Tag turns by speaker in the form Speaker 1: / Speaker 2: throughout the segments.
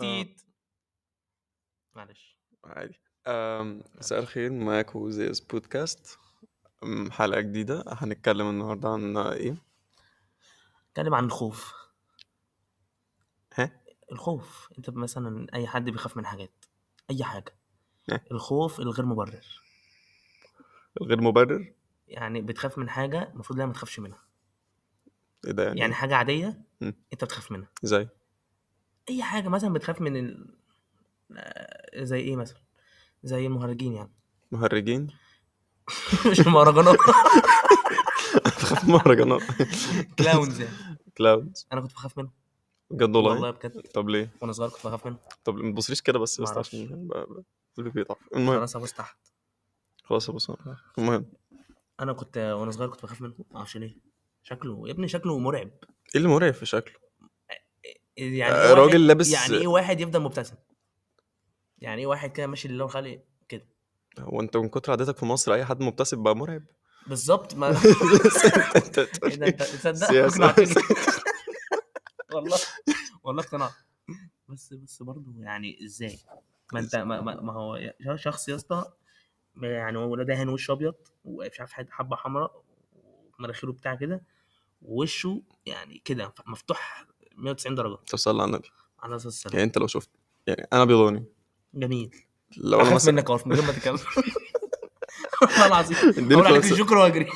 Speaker 1: آه.
Speaker 2: تيت معلش
Speaker 1: عادي أم، مساء
Speaker 2: معلش
Speaker 1: الخير معاك وزيز بودكاست أم، حلقة جديدة هنتكلم النهاردة عن ايه؟
Speaker 2: اتكلم عن الخوف
Speaker 1: ها؟
Speaker 2: الخوف انت مثلا اي حد بيخاف من حاجات اي حاجه
Speaker 1: ها؟
Speaker 2: الخوف الغير مبرر
Speaker 1: غير مبرر؟
Speaker 2: يعني بتخاف من حاجه المفروض لا ما تخافش منها
Speaker 1: ايه ده يعني
Speaker 2: يعني
Speaker 1: ايه؟
Speaker 2: حاجه عاديه
Speaker 1: مم،
Speaker 2: انت بتخاف منها
Speaker 1: ازاي؟
Speaker 2: اي حاجه مثلا بتخاف من ال... آه، زي ايه مثلا زي المهرجين يعني
Speaker 1: مهرجين؟
Speaker 2: مش المهرجانات
Speaker 1: بخاف من مهرجانات
Speaker 2: كلاونز يعني
Speaker 1: كلاودز
Speaker 2: انا كنت بخاف منهم
Speaker 1: بجد والله
Speaker 2: والله بجد
Speaker 1: طب ليه؟
Speaker 2: وانا صغير كنت بخاف منهم
Speaker 1: طب ما تبصليش كده بس
Speaker 2: ما
Speaker 1: بس
Speaker 2: اعرفش
Speaker 1: عشان ب- ب- قلبي بيضعف المهم
Speaker 2: خلاص ابص تحت
Speaker 1: خلاص يا بص المهم
Speaker 2: انا كنت وانا صغير كنت بخاف منه ما اعرفش ليه شكله يا ابني شكله مرعب
Speaker 1: ايه اللي مرعب في شكله؟
Speaker 2: يعني ايه
Speaker 1: آه، راجل
Speaker 2: واحد
Speaker 1: لابس
Speaker 2: يعني ايه واحد يفضل مبتسم يعني ايه واحد كده ماشي اللي هو خالق كده
Speaker 1: هو انت من كتر عادتك في مصر اي حد مبتسم بقى مرعب إيه
Speaker 2: بالظبط ما
Speaker 1: انت بتقول
Speaker 2: ايه ده
Speaker 1: ايه؟
Speaker 2: انت تصدق
Speaker 1: سياسة
Speaker 2: اقنعتني والله والله اقتنعت بس بس برضه يعني ازاي ما انت ما, ما, ما هو يا- شخص يا اسطى يعني هو ده دهن وشه ابيض ومش عارف حد- حبه حمراء ومناخيره بتاع كده ووشه يعني كده مفتوح 190 درجه
Speaker 1: طب صلي على النبي
Speaker 2: على اساس السلام
Speaker 1: يعني انت لو شفت يعني انا بيضاني
Speaker 2: جميل
Speaker 1: لو انا
Speaker 2: اخاف
Speaker 1: مثلا
Speaker 2: منك اقف من غير ما تتكلم والله العظيم
Speaker 1: اديني
Speaker 2: اقول عليك
Speaker 1: فرصه
Speaker 2: الجوكر واجري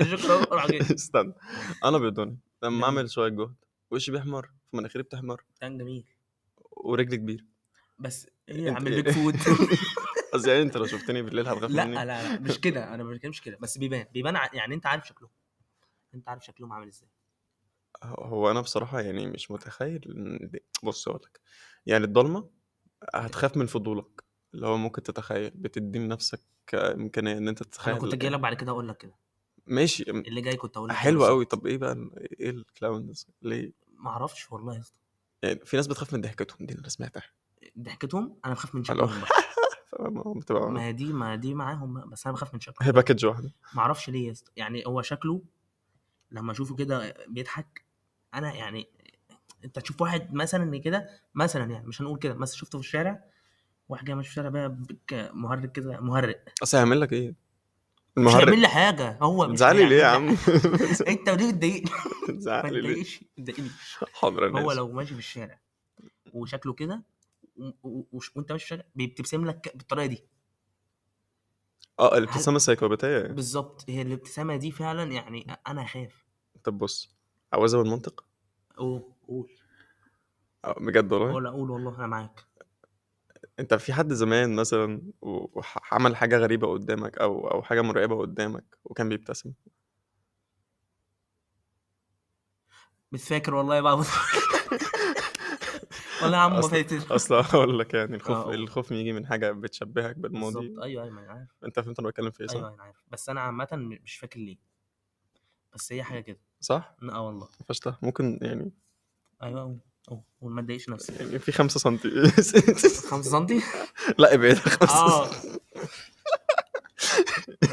Speaker 2: الجوكر واروح اجري
Speaker 1: استنى انا بيضاني لما
Speaker 2: جميل
Speaker 1: اعمل شويه جهد وشي بيحمر ومناخيري بتحمر
Speaker 2: كان جميل
Speaker 1: ورجلي كبير
Speaker 2: بس ايه يا
Speaker 1: انت
Speaker 2: عم البيك فود
Speaker 1: قصدي يعني انت لو شفتني بالليل هتخاف
Speaker 2: لا
Speaker 1: مني
Speaker 2: لا لا مش كده انا ما بتكلمش كده بس بيبان بيبان ع- يعني انت عارف شكلهم انت عارف شكلهم عامل ازاي
Speaker 1: هو انا بصراحه يعني مش متخيل ان دي- بص اقول لك يعني الضلمه هتخاف من فضولك اللي هو ممكن تتخيل بتدي لنفسك امكانيه ان انت
Speaker 2: انا كنت
Speaker 1: تتخيل
Speaker 2: جاي لك بعد كده اقول لك كده
Speaker 1: ماشي
Speaker 2: اللي جاي كنت اقول لك كده
Speaker 1: حلو قوي
Speaker 2: بالظبط
Speaker 1: طب ايه بقى ايه الكلاونز ليه
Speaker 2: ما اعرفش والله يا اسطى
Speaker 1: يعني في ناس بتخاف من ضحكتهم دي اللي انا سمعتها
Speaker 2: ضحكتهم انا بخاف من
Speaker 1: الو
Speaker 2: شكلهم بقى
Speaker 1: فاهم؟ بتبقى
Speaker 2: ما هي دي ما دي معاهم بقى بس انا بخاف من شكله
Speaker 1: هي باكج واحده
Speaker 2: ما اعرفش ليه يا اسطى يعني هو شكله لما اشوفه كده بيضحك انا يعني انت تشوف واحد مثلا كده مثلا يعني مش هنقول كده بس شفته في الشارع واحد جاي ماشي في الشارع بقى بك- مهرج كده مهرج
Speaker 1: اصل هيعمل لك ايه
Speaker 2: مش هيعمل
Speaker 1: المهرج
Speaker 2: لي حاجه هو مش
Speaker 1: تزعلي ليه يا
Speaker 2: هيعمل لي
Speaker 1: عم
Speaker 2: حاجه انت ليه بتضايقني ما
Speaker 1: تزعلي ليه
Speaker 2: تضايقش ما تضايقنيش
Speaker 1: حاضر يا
Speaker 2: هو
Speaker 1: ناس
Speaker 2: لو ماشي في الشارع وشكله كده و- و- وش- وانت ماشي في الشارع بتبتسم لك بالطريقه دي
Speaker 1: اه
Speaker 2: هل
Speaker 1: الابتسامه السايكوباتيه
Speaker 2: بالظبط هي الابتسامه دي فعلا يعني انا خايف
Speaker 1: طب بص عوازة بالمنطق
Speaker 2: قول قول
Speaker 1: آه، بجد والله
Speaker 2: قول اقول والله انا معاك
Speaker 1: انت في حد زمان مثلا و- وعمل حاجه غريبه قدامك او او حاجه مرعبه قدامك وكان بيبتسم
Speaker 2: مش فاكر والله بقى والله يا عم ما
Speaker 1: اصل
Speaker 2: فاكر
Speaker 1: اصل هقول لك يعني
Speaker 2: اه
Speaker 1: الخوف
Speaker 2: قول
Speaker 1: الخوف يجي من حاجه بتشبهك بالماضي
Speaker 2: بالظبط ايوه ايوه ما انا عارف
Speaker 1: انت فهمت انا بتكلم في ايه صح؟
Speaker 2: ايوه انا عارف بس انا عامه م- مش فاكر ليه بس هي حاجه كده
Speaker 1: صح؟
Speaker 2: اه والله
Speaker 1: فشتها ممكن يعني
Speaker 2: ايوه قول قول قول ما تضايقش نفسك
Speaker 1: يعني في 5 سنتي
Speaker 2: 5 سم
Speaker 1: لا ابعد 5
Speaker 2: اه
Speaker 1: سنتي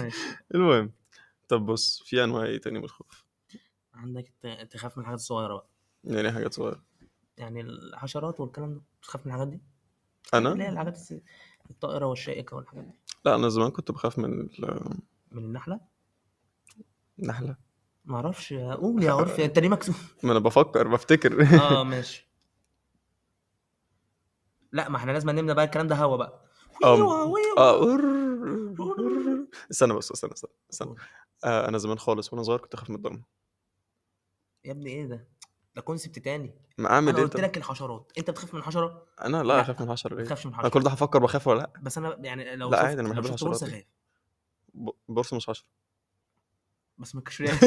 Speaker 2: ماشي
Speaker 1: المهم طب بص في انواع ايه تاني من الخوف؟
Speaker 2: عندك ت- تخاف من حاجات صغيره بقى
Speaker 1: يعني حاجات صغيره
Speaker 2: يعني الحشرات والكلام ده بتخاف من الحاجات دي عارف
Speaker 1: انا
Speaker 2: اللي هي الحاجات الس- الطائره والشائكه والحاجات دي
Speaker 1: لا انا زمان كنت بخاف من ال-
Speaker 2: من النحله
Speaker 1: النحله
Speaker 2: ما اعرفش قول يا عرفي انت ليه مكسوف
Speaker 1: ما انا بفكر بفتكر
Speaker 2: اه ماشي لا ما احنا لازم نمنا بقى الكلام ده هوا بقى
Speaker 1: ام
Speaker 2: ويوا
Speaker 1: اه
Speaker 2: ويوا
Speaker 1: أور...
Speaker 2: قول
Speaker 1: استنى بس استنى استنى استنى
Speaker 2: قول.
Speaker 1: آه انا زمان خالص وانا صغير كنت اخاف من الضلمه
Speaker 2: يا ابني ايه ده ده كونسبت تاني
Speaker 1: ما اعمل
Speaker 2: انا
Speaker 1: ايه
Speaker 2: قلت
Speaker 1: طب
Speaker 2: لك الحشرات انت بتخاف من الحشره
Speaker 1: انا لا اخاف
Speaker 2: لا
Speaker 1: من الحشره
Speaker 2: ما
Speaker 1: ليه
Speaker 2: تخافش من
Speaker 1: انا كل
Speaker 2: الحشره
Speaker 1: ده هفكر بخاف ولا لا
Speaker 2: بس انا يعني لو
Speaker 1: لا عادي انا
Speaker 2: شفت
Speaker 1: ما
Speaker 2: لو
Speaker 1: بحبش
Speaker 2: شفت بورصه
Speaker 1: الحشرات ليه
Speaker 2: خايف
Speaker 1: ب- بورصه مش حشره
Speaker 2: بس من الكشريات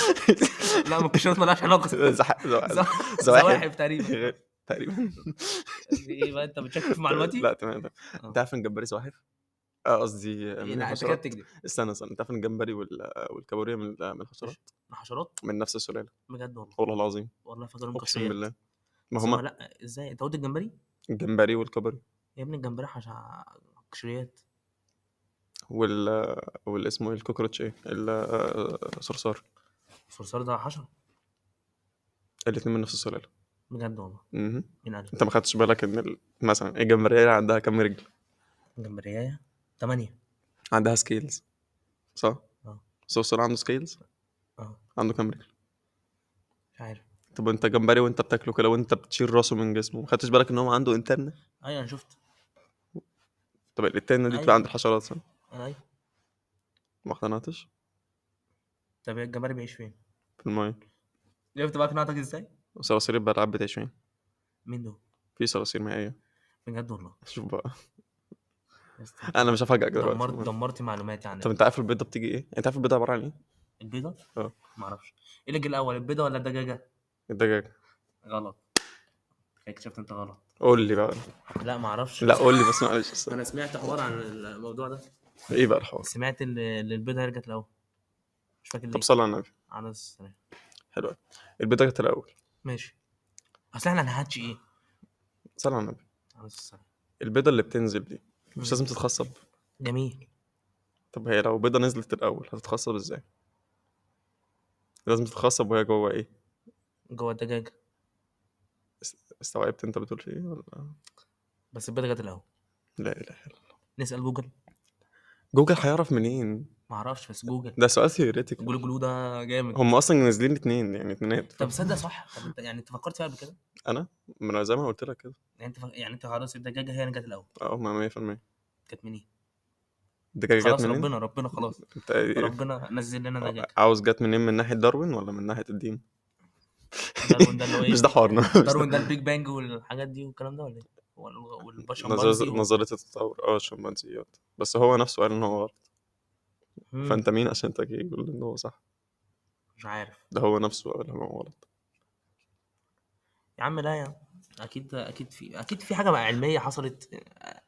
Speaker 2: لا من الكشريات مالهاش علاقه
Speaker 1: زح... زو...
Speaker 2: زو-
Speaker 1: زواحف
Speaker 2: زواحف تقريبا اه
Speaker 1: تقريبا
Speaker 2: في ايه بقى انت بتشكك في معلوماتي
Speaker 1: لا تمام تمام انت
Speaker 2: اه
Speaker 1: عارف ان الجمبري زواحف؟ آه، قصدي من
Speaker 2: إيه، لا انت كده
Speaker 1: الحشرات
Speaker 2: بتكذب
Speaker 1: استنى استنى انت عارف ان الجمبري وال... والكابوريا من من
Speaker 2: مش
Speaker 1: الحشرات
Speaker 2: حشرات
Speaker 1: من نفس السلاله
Speaker 2: بجد والله
Speaker 1: والله العظيم
Speaker 2: والله فاكرهم
Speaker 1: اقسم
Speaker 2: كشريات
Speaker 1: بالله ما
Speaker 2: بس هما
Speaker 1: هما
Speaker 2: لا ازاي انت قلت الجمبري
Speaker 1: الجمبري والكابوريا
Speaker 2: يا ابني الجمبري حش... كشريات
Speaker 1: وال والاسمه ايه الكوكروتش ايه ال- آه، صرصار
Speaker 2: الصرصار ده حشره
Speaker 1: الاتنين من نفس السلاله
Speaker 2: بجد والله
Speaker 1: مهم.
Speaker 2: مين قال
Speaker 1: انت ما خدتش بالك ان ال- مثلا الجمبريه عندها كام رجل
Speaker 2: جمبريايه 8
Speaker 1: عندها سكيلز صح
Speaker 2: اه.
Speaker 1: صرصور عنده سكيلز
Speaker 2: اه
Speaker 1: عنده كام رجل
Speaker 2: مش عارف
Speaker 1: طب انت جمبري وانت بتاكله كده وانت بتشيل راسه من جسمه ما خدتش بالك ان هو عنده انترنه
Speaker 2: ايوه انا شفت
Speaker 1: طب الانترنه دي بتبقى
Speaker 2: ايوه.
Speaker 1: عند الحشرات صح
Speaker 2: انا ايوه
Speaker 1: ما اقتنعتش
Speaker 2: طب الجمبري بيعيش فين؟
Speaker 1: في المايه
Speaker 2: شفت بقى قناعتك ازاي؟
Speaker 1: صراصير البلعاب بتعيش فين
Speaker 2: مين دول؟
Speaker 1: في صراصير مائيه
Speaker 2: بجد والله
Speaker 1: شوف بقى
Speaker 2: يا اسطى،
Speaker 1: انا مش هفاجئك
Speaker 2: دمرت
Speaker 1: دلوقتي
Speaker 2: دمرت معلوماتي عن
Speaker 1: طب انت عارف البيضه بتيجي ايه انت عارف البيضه عباره عن ايه
Speaker 2: البيضه؟
Speaker 1: اه.
Speaker 2: معرفش ايه اللي جه الاول البيضه ولا الدجاجه؟
Speaker 1: الدجاج
Speaker 2: غلط اكتشفت انت غلط
Speaker 1: قول لي بقى
Speaker 2: لا معرفش
Speaker 1: لا قول لي بس معلش بس.
Speaker 2: انا سمعت حوار عن الموضوع ده
Speaker 1: ايه بقى الحوار
Speaker 2: سمعت ان إن البيضه رجعت الاول مش فاكر ليه
Speaker 1: طب صلى على النبي
Speaker 2: على السلام
Speaker 1: حلو أوي. البيضه جت الاول
Speaker 2: ماشي اصل احنا هنهاتش ايه؟
Speaker 1: صلى على النبي
Speaker 2: على السلام
Speaker 1: البيضه اللي بتنزل دي مش لازم تتخصب
Speaker 2: جميل
Speaker 1: طب هي لو بيضه نزلت الاول هتتخصب ازاي لازم تتخصب وهي جوه ايه
Speaker 2: جوه الدجاجه
Speaker 1: استوعبت انت بتقول في ايه ولا
Speaker 2: بس البيضه جت الاول
Speaker 1: لا اله الا الله.
Speaker 2: نسال جوجل
Speaker 1: جوجل هيعرف منين
Speaker 2: معرفش بس جوجل
Speaker 1: ده سؤال ثيوريتيك
Speaker 2: جوجل جلو ده جامد
Speaker 1: هم اصلا نازلين اتنين يعني اتنينات
Speaker 2: طب صدق صح طب انت يعني انت فكرت فيها قبل كده
Speaker 1: انا ما انا زي ما أنا قلت لك كده
Speaker 2: يعني انت ف... يعني انت خلاص الدجاجه هي اللي جت الاول
Speaker 1: اه ما 100%
Speaker 2: كانت منين
Speaker 1: الدجاجه جت
Speaker 2: خلاص
Speaker 1: منين
Speaker 2: ربنا ربنا خلاص
Speaker 1: انت إيه؟
Speaker 2: ربنا نزل لنا دجاجه
Speaker 1: عاوز جت منين من ناحيه داروين ولا من ناحيه الدين
Speaker 2: داروين ده اللي هو ايه
Speaker 1: مش ده حوارنا مش ده-
Speaker 2: داروين ده البيج بانج والحاجات دي والكلام ده ولا ايه وال- والبشمبانزي
Speaker 1: نظرية
Speaker 2: و...
Speaker 1: نظرية التطور اه الشمبانزيات بس هو نفسه قال ان هو غلط
Speaker 2: مم،
Speaker 1: فانت مين عشان تجي تقول ان هو صح
Speaker 2: مش عارف
Speaker 1: ده هو نفسه قال ان هو غلط
Speaker 2: يا عم لا يا عم. اكيد اكيد في اكيد في حاجه بقى علميه حصلت آه،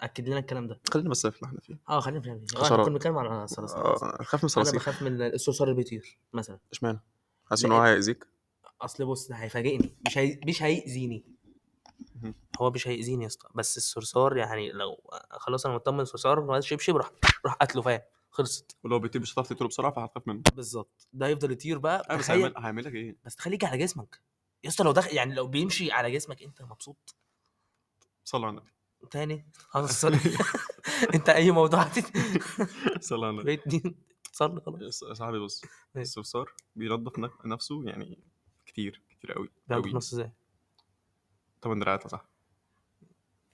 Speaker 2: اكد لنا الكلام ده
Speaker 1: خلينا بس في اللي احنا فيه
Speaker 2: اه خلينا نفهم آه، احنا
Speaker 1: خسارات.
Speaker 2: كنا بنتكلم على الصراصير
Speaker 1: اه خاف من
Speaker 2: انا
Speaker 1: الصراصير
Speaker 2: بخاف من الصرصار اللي بيطير مثلا
Speaker 1: اشمعنى حاسس ان
Speaker 2: لأن-
Speaker 1: هو هيأذيك
Speaker 2: اصل بص ده هيفاجئني مش هي... مش هيأذيني
Speaker 1: مهم.
Speaker 2: هو مش هيأذيني يا اسطى بس الصرصار يعني لو خلاص انا مطمن الصرصار ما شبشب راح راح قتله فاهم خلصت
Speaker 1: ولو بيطير مش هتعرف تقتله بسرعه فهتخاف منه
Speaker 2: بالظبط ده يفضل يطير بقى
Speaker 1: اه بس
Speaker 2: تخيل-
Speaker 1: هيعمل هيعمل لك ايه
Speaker 2: بس تخليه يجي على جسمك يا اسطى لو دخل يعني لو بيمشي على جسمك انت مبسوط
Speaker 1: صلى على النبي
Speaker 2: تاني خلاص صلي انت اي موضوع هتت-
Speaker 1: صلى على النبي
Speaker 2: بقيت دين صلي خلاص
Speaker 1: يا صاحبي بص
Speaker 2: إيه؟
Speaker 1: الصرصار بينظف نف- نفسه يعني كتير كتير قوي
Speaker 2: بيعمل
Speaker 1: قوي
Speaker 2: في نص ازاي
Speaker 1: طبعا دراعات صح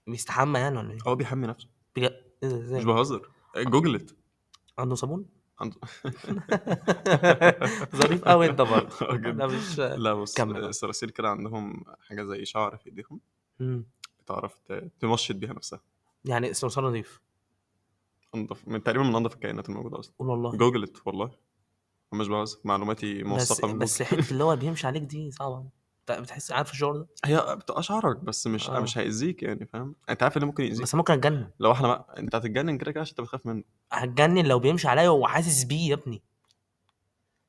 Speaker 2: بيستحمى يعني ولا ايه؟
Speaker 1: هو بيحمي نفسه
Speaker 2: بيج- ايه ده
Speaker 1: أه، مش
Speaker 2: ازاي؟
Speaker 1: بهزر جوجلت
Speaker 2: عنده صابون؟
Speaker 1: عنده-
Speaker 2: ظريف قوي انت برضه
Speaker 1: آه، جدا.
Speaker 2: ده مش
Speaker 1: لا بص
Speaker 2: كمل.
Speaker 1: الصراصير كده عندهم حاجه زي شعر في ايديهم
Speaker 2: مم.
Speaker 1: بتعرف ت- تمشط بيها نفسها
Speaker 2: يعني الصرصار نظيف
Speaker 1: انضف من تقريبا من انضف الكائنات الموجوده اصلا
Speaker 2: قول والله
Speaker 1: جوجلت والله أنا مش بهزر معلوماتي
Speaker 2: بس
Speaker 1: موثقه من
Speaker 2: بس
Speaker 1: بس
Speaker 2: حته اللي هو بيمشي عليك دي صعبه أنت بتحس عارف الشعور ده
Speaker 1: هي بتبقى شعرك بس مش
Speaker 2: آه.
Speaker 1: مش هيأذيك يعني فاهم انت عارف اللي ممكن يأذيك
Speaker 2: بس ممكن اتجنن
Speaker 1: لو احنا بقى انت هتتجنن كده كده عشان انت بتخاف منه
Speaker 2: هتجنن لو بيمشي عليا وحاسس بيه يا ابني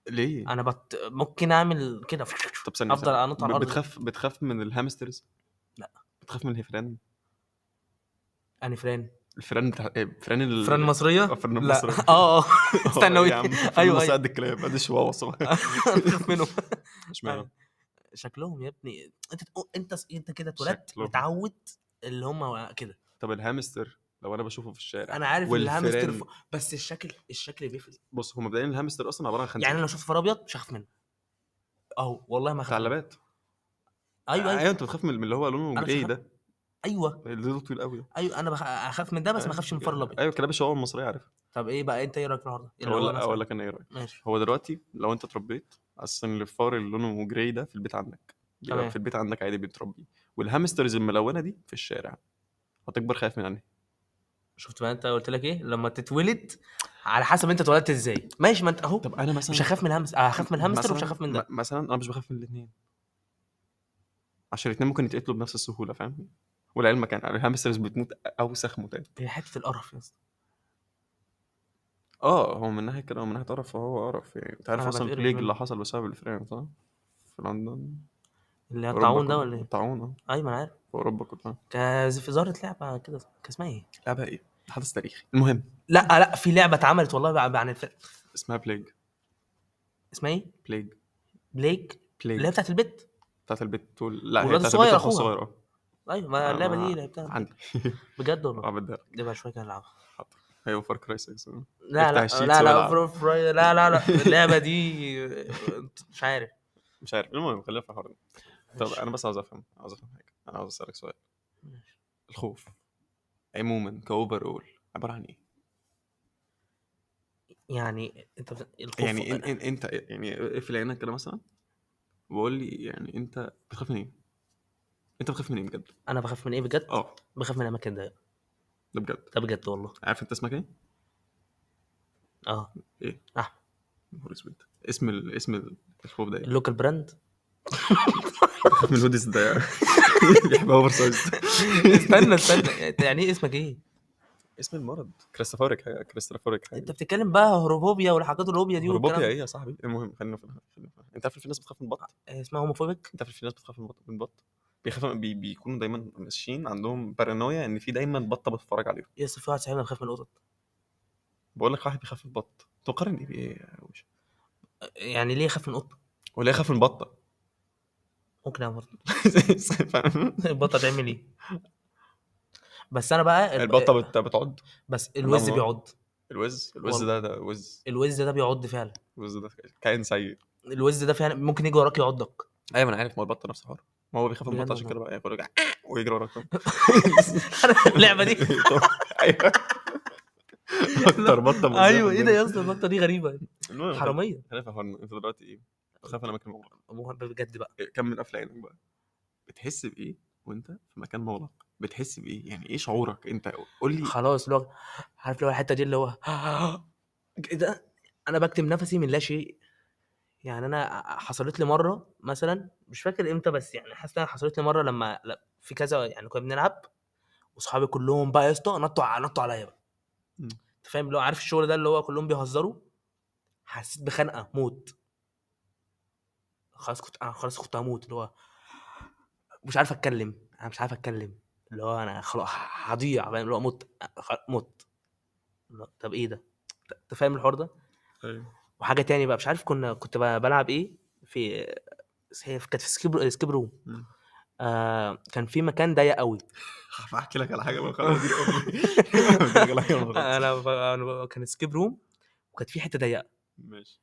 Speaker 1: ليه؟
Speaker 2: انا بت... ممكن اعمل كده
Speaker 1: طب ثانيه
Speaker 2: أفضل
Speaker 1: ثانية.
Speaker 2: أنط على
Speaker 1: ب-
Speaker 2: الأرض.
Speaker 1: بتخاف بتخاف من الهامسترز؟
Speaker 2: لا.
Speaker 1: بتخاف من الهفران؟
Speaker 2: انا فران
Speaker 1: الفران بتاع إيه، فران ال...
Speaker 2: فران مصريه
Speaker 1: آه، فران
Speaker 2: لا
Speaker 1: مصرية.
Speaker 2: اه اه
Speaker 1: آه،
Speaker 2: استنى
Speaker 1: يا
Speaker 2: وي
Speaker 1: عم، فران
Speaker 2: ايوه
Speaker 1: مصر
Speaker 2: ايوه
Speaker 1: قد الكلاب قد الشواوة الصغيرة.
Speaker 2: بخاف منهم
Speaker 1: اشمعنى؟
Speaker 2: شكلهم يا ابني انت انت انت كده اتولدت
Speaker 1: شكلهم.
Speaker 2: متعود اللي هم كده
Speaker 1: طب الهامستر لو انا بشوفه في الشارع
Speaker 2: انا عارف ان الهامستر
Speaker 1: والفيران-
Speaker 2: فوق، بس الشكل الشكل بيفرق
Speaker 1: بص هو مبدئيا الهامستر اصلا عباره عن خنزير
Speaker 2: يعني انا لو شفت فار ابيض مش هخاف منه اهو والله ما هخاف منه.
Speaker 1: ثعلبات
Speaker 2: ايوه ايوه
Speaker 1: ايوه انت بتخاف من من اللي هو لونه
Speaker 2: أنا مش
Speaker 1: جراي
Speaker 2: هخاف.
Speaker 1: ده
Speaker 2: ايوه
Speaker 1: اللي لونه طويل قوي
Speaker 2: ايوه انا بخ... اخاف من ده بس ما اخافش من الفار الابيض
Speaker 1: ايوه كلام الشواوة المصريه عارف
Speaker 2: طب ايه بقى انت ايه رايك في النهارده؟ إيه اللي هو
Speaker 1: اقول
Speaker 2: مثلاً؟
Speaker 1: اقول لك انا ايه رايي
Speaker 2: ماشي
Speaker 1: هو دلوقتي لو انت اتربيت اصلا الفار اللي لونه جراي ده في البيت عندك بيبقى
Speaker 2: تمام.
Speaker 1: في البيت عندك عادي بيتربيه والهامسترز الملونه دي في الشارع هتكبر خايف من انهي
Speaker 2: شفت بقى انت قلت لك ايه لما تتولد على حسب انت اتولدت ازاي ماشي ما انت اهو
Speaker 1: طب انا مثلا
Speaker 2: مش هخاف من الهامستر هخاف من الهامستر ومش هخاف من ده
Speaker 1: م- مثلا انا مش بخاف من الاثنين عشان الاثنين ممكن يتقتلوا بنفس السهوله فاهم والعلم كان الهامسترز بتموت اوسخ موتات
Speaker 2: هي حته القرف يا اسطى
Speaker 1: اه هو من ناحيه كده ومن ناحيه قرف فهو قرف يعني انت عارف
Speaker 2: أنا
Speaker 1: اصلا
Speaker 2: بتقرف
Speaker 1: البليج
Speaker 2: منه.
Speaker 1: اللي حصل بسبب الفيران صح؟ في لندن
Speaker 2: اللي هي
Speaker 1: أوروبا
Speaker 2: الطاعون
Speaker 1: كلها.
Speaker 2: ده ولا ايه؟
Speaker 1: الطاعون اه
Speaker 2: ايوه ما انا عارف
Speaker 1: في اوروبا كلها
Speaker 2: كا- في ظاهره لعبه كده كان اسمها ايه؟
Speaker 1: لعبها ايه؟ حدث تاريخي المهم
Speaker 2: لا لا في لعبه اتعملت والله بقى- بقى عن الفرق
Speaker 1: اسمها بليج
Speaker 2: اسمها ايه؟
Speaker 1: بليج
Speaker 2: بليك اللي هي
Speaker 1: بليج
Speaker 2: بتاعت البت
Speaker 1: بتاعت البيت وال... لا هي
Speaker 2: والواد
Speaker 1: بتاعت
Speaker 2: الصغير
Speaker 1: البيت اخوه
Speaker 2: أخوها.
Speaker 1: الصغير اه
Speaker 2: ايوه ما
Speaker 1: أنا
Speaker 2: اللعبه دي
Speaker 1: ما-
Speaker 2: لعبتها
Speaker 1: عندي آه،
Speaker 2: بجد والله
Speaker 1: عبد الله
Speaker 2: دي بقى شويه كده العبها
Speaker 1: هي يعني. وفار كراي 6
Speaker 2: لا
Speaker 1: افتح
Speaker 2: لا
Speaker 1: الشيتس
Speaker 2: لا لا
Speaker 1: والعب.
Speaker 2: فرو فراي لا لا لا اللعبه دي مش عارف
Speaker 1: مش عارف المهم خلينا في الحوار ده طب انا بس عاوز افهم عاوز افهم حاجه انا عاوز اسالك سؤال
Speaker 2: ماشي.
Speaker 1: الخوف عموما كاوفر اول عباره عن ايه؟
Speaker 2: يعني انت بت- الخوف
Speaker 1: يعني إن إن انت يعني اقفل عينك كده مثلا وقول لي يعني انت بتخاف من ايه؟ انت بتخاف من ايه بجد؟
Speaker 2: انا بخاف من ايه بجد؟
Speaker 1: اه
Speaker 2: بخاف من الاماكن ضيقه
Speaker 1: ده بجد
Speaker 2: ده بجد والله
Speaker 1: عارف انت اسمك ايه؟
Speaker 2: اه
Speaker 1: ايه؟
Speaker 2: أحمد.
Speaker 1: نهار اسود اسم ال... اسم ال- الخوف ده ايه؟
Speaker 2: اللوكال براند
Speaker 1: بخاف من الهوديز ده يعني. بيحب اوفر سايز
Speaker 2: استنى استنى يعني ايه اسمك ايه؟
Speaker 1: اسم المرض كريستافوريك حاجه كريستافوريك حاجة.
Speaker 2: انت بتتكلم بقى هروبوبيا والحاجات الهوبيا دي
Speaker 1: هروبوبيا
Speaker 2: والكلام
Speaker 1: ايه يا صاحبي المهم خلينا في خلينا في الحوار. انت عارف إن في ناس بتخاف من البط
Speaker 2: ده. اسمها هوموفوبيك
Speaker 1: انت عارف إن في ناس بتخاف من البط من البط بيخافوا بي... بيكونوا دايما ماشيين عندهم بارانويا ان في دايما بطه بتتفرج عليهم
Speaker 2: يس في واحد صاحبنا بخاف من القطط
Speaker 1: بقول لك واحد بيخاف من البط تقارن ايه بايه يا وش
Speaker 2: يعني ليه يخاف من القطه؟
Speaker 1: ولا يخاف من البطه
Speaker 2: ممكن اعمل
Speaker 1: فاهم؟
Speaker 2: البطه تعمل ايه؟ بس انا بقى ال-
Speaker 1: البطه بت... بتعض
Speaker 2: بس الوز
Speaker 1: الله.
Speaker 2: بيعض
Speaker 1: الوز الوز ده ده وز
Speaker 2: الوز ده بيعض فعلا
Speaker 1: الوز ده كائن سيء
Speaker 2: الوز ده فعلا ممكن يجي وراك يعضك
Speaker 1: ايوه انا عارف ما هو البطه نفس الحوار ما هو بيخاف من
Speaker 2: بجد
Speaker 1: البطه عشان كده
Speaker 2: والله.
Speaker 1: بقى يقول لك ويجري وراك
Speaker 2: اللعبه دي
Speaker 1: ايوه اكتر بطه مؤذية في
Speaker 2: ايوه ايه ده
Speaker 1: الدنيا.
Speaker 2: يا اسطى النقطه دي غريبه
Speaker 1: المهم،
Speaker 2: حراميه
Speaker 1: خلينا في حوارنا انت دلوقتي ايه بتخاف انا مكان مغلق
Speaker 2: أبوها بجد بقى
Speaker 1: إيه، كمل قفل عينك بقى بتحس بايه وانت في مكان مغلق بتحس بايه يعني ايه شعورك انت قول لي
Speaker 2: خلاص لو عارف اللي هو الحته دي اللي هو ده انا بكتم نفسي من لا شيء يعني انا حصلت لي مره مثلا مش فاكر امتى بس يعني حاسس إنها حصلت لي مره لما لا، في كذا يعني كنا بنلعب واصحابي كلهم بقى يا اسطى نطوا ع- نطوا عليا بقى
Speaker 1: مم.
Speaker 2: انت فاهم اللي هو عارف الشغل ده اللي هو كلهم بيهزروا حسيت بخنقه موت خلاص كنت انا خلاص كنت هموت اللي هو مش عارف اتكلم انا مش عارف اتكلم اللي هو انا خلاص هضيع فاهم اللي هو مت خ- مت اللي هو طب ايه ده انت فاهم الحوار ده وحاجه تاني بقى مش عارف كنا كنت ب- بلعب ايه في هي كانت في سكيب سكيب روم
Speaker 1: مم.
Speaker 2: آه كان في مكان ضيق قوي
Speaker 1: خاف احكي لك على حاجه بقى خلاص دي أمي. أحكي لك على حاجة بقى خلاص.
Speaker 2: انا آه، ب- انا ب- كان سكيب روم وكانت في حته ضيقه
Speaker 1: ماشي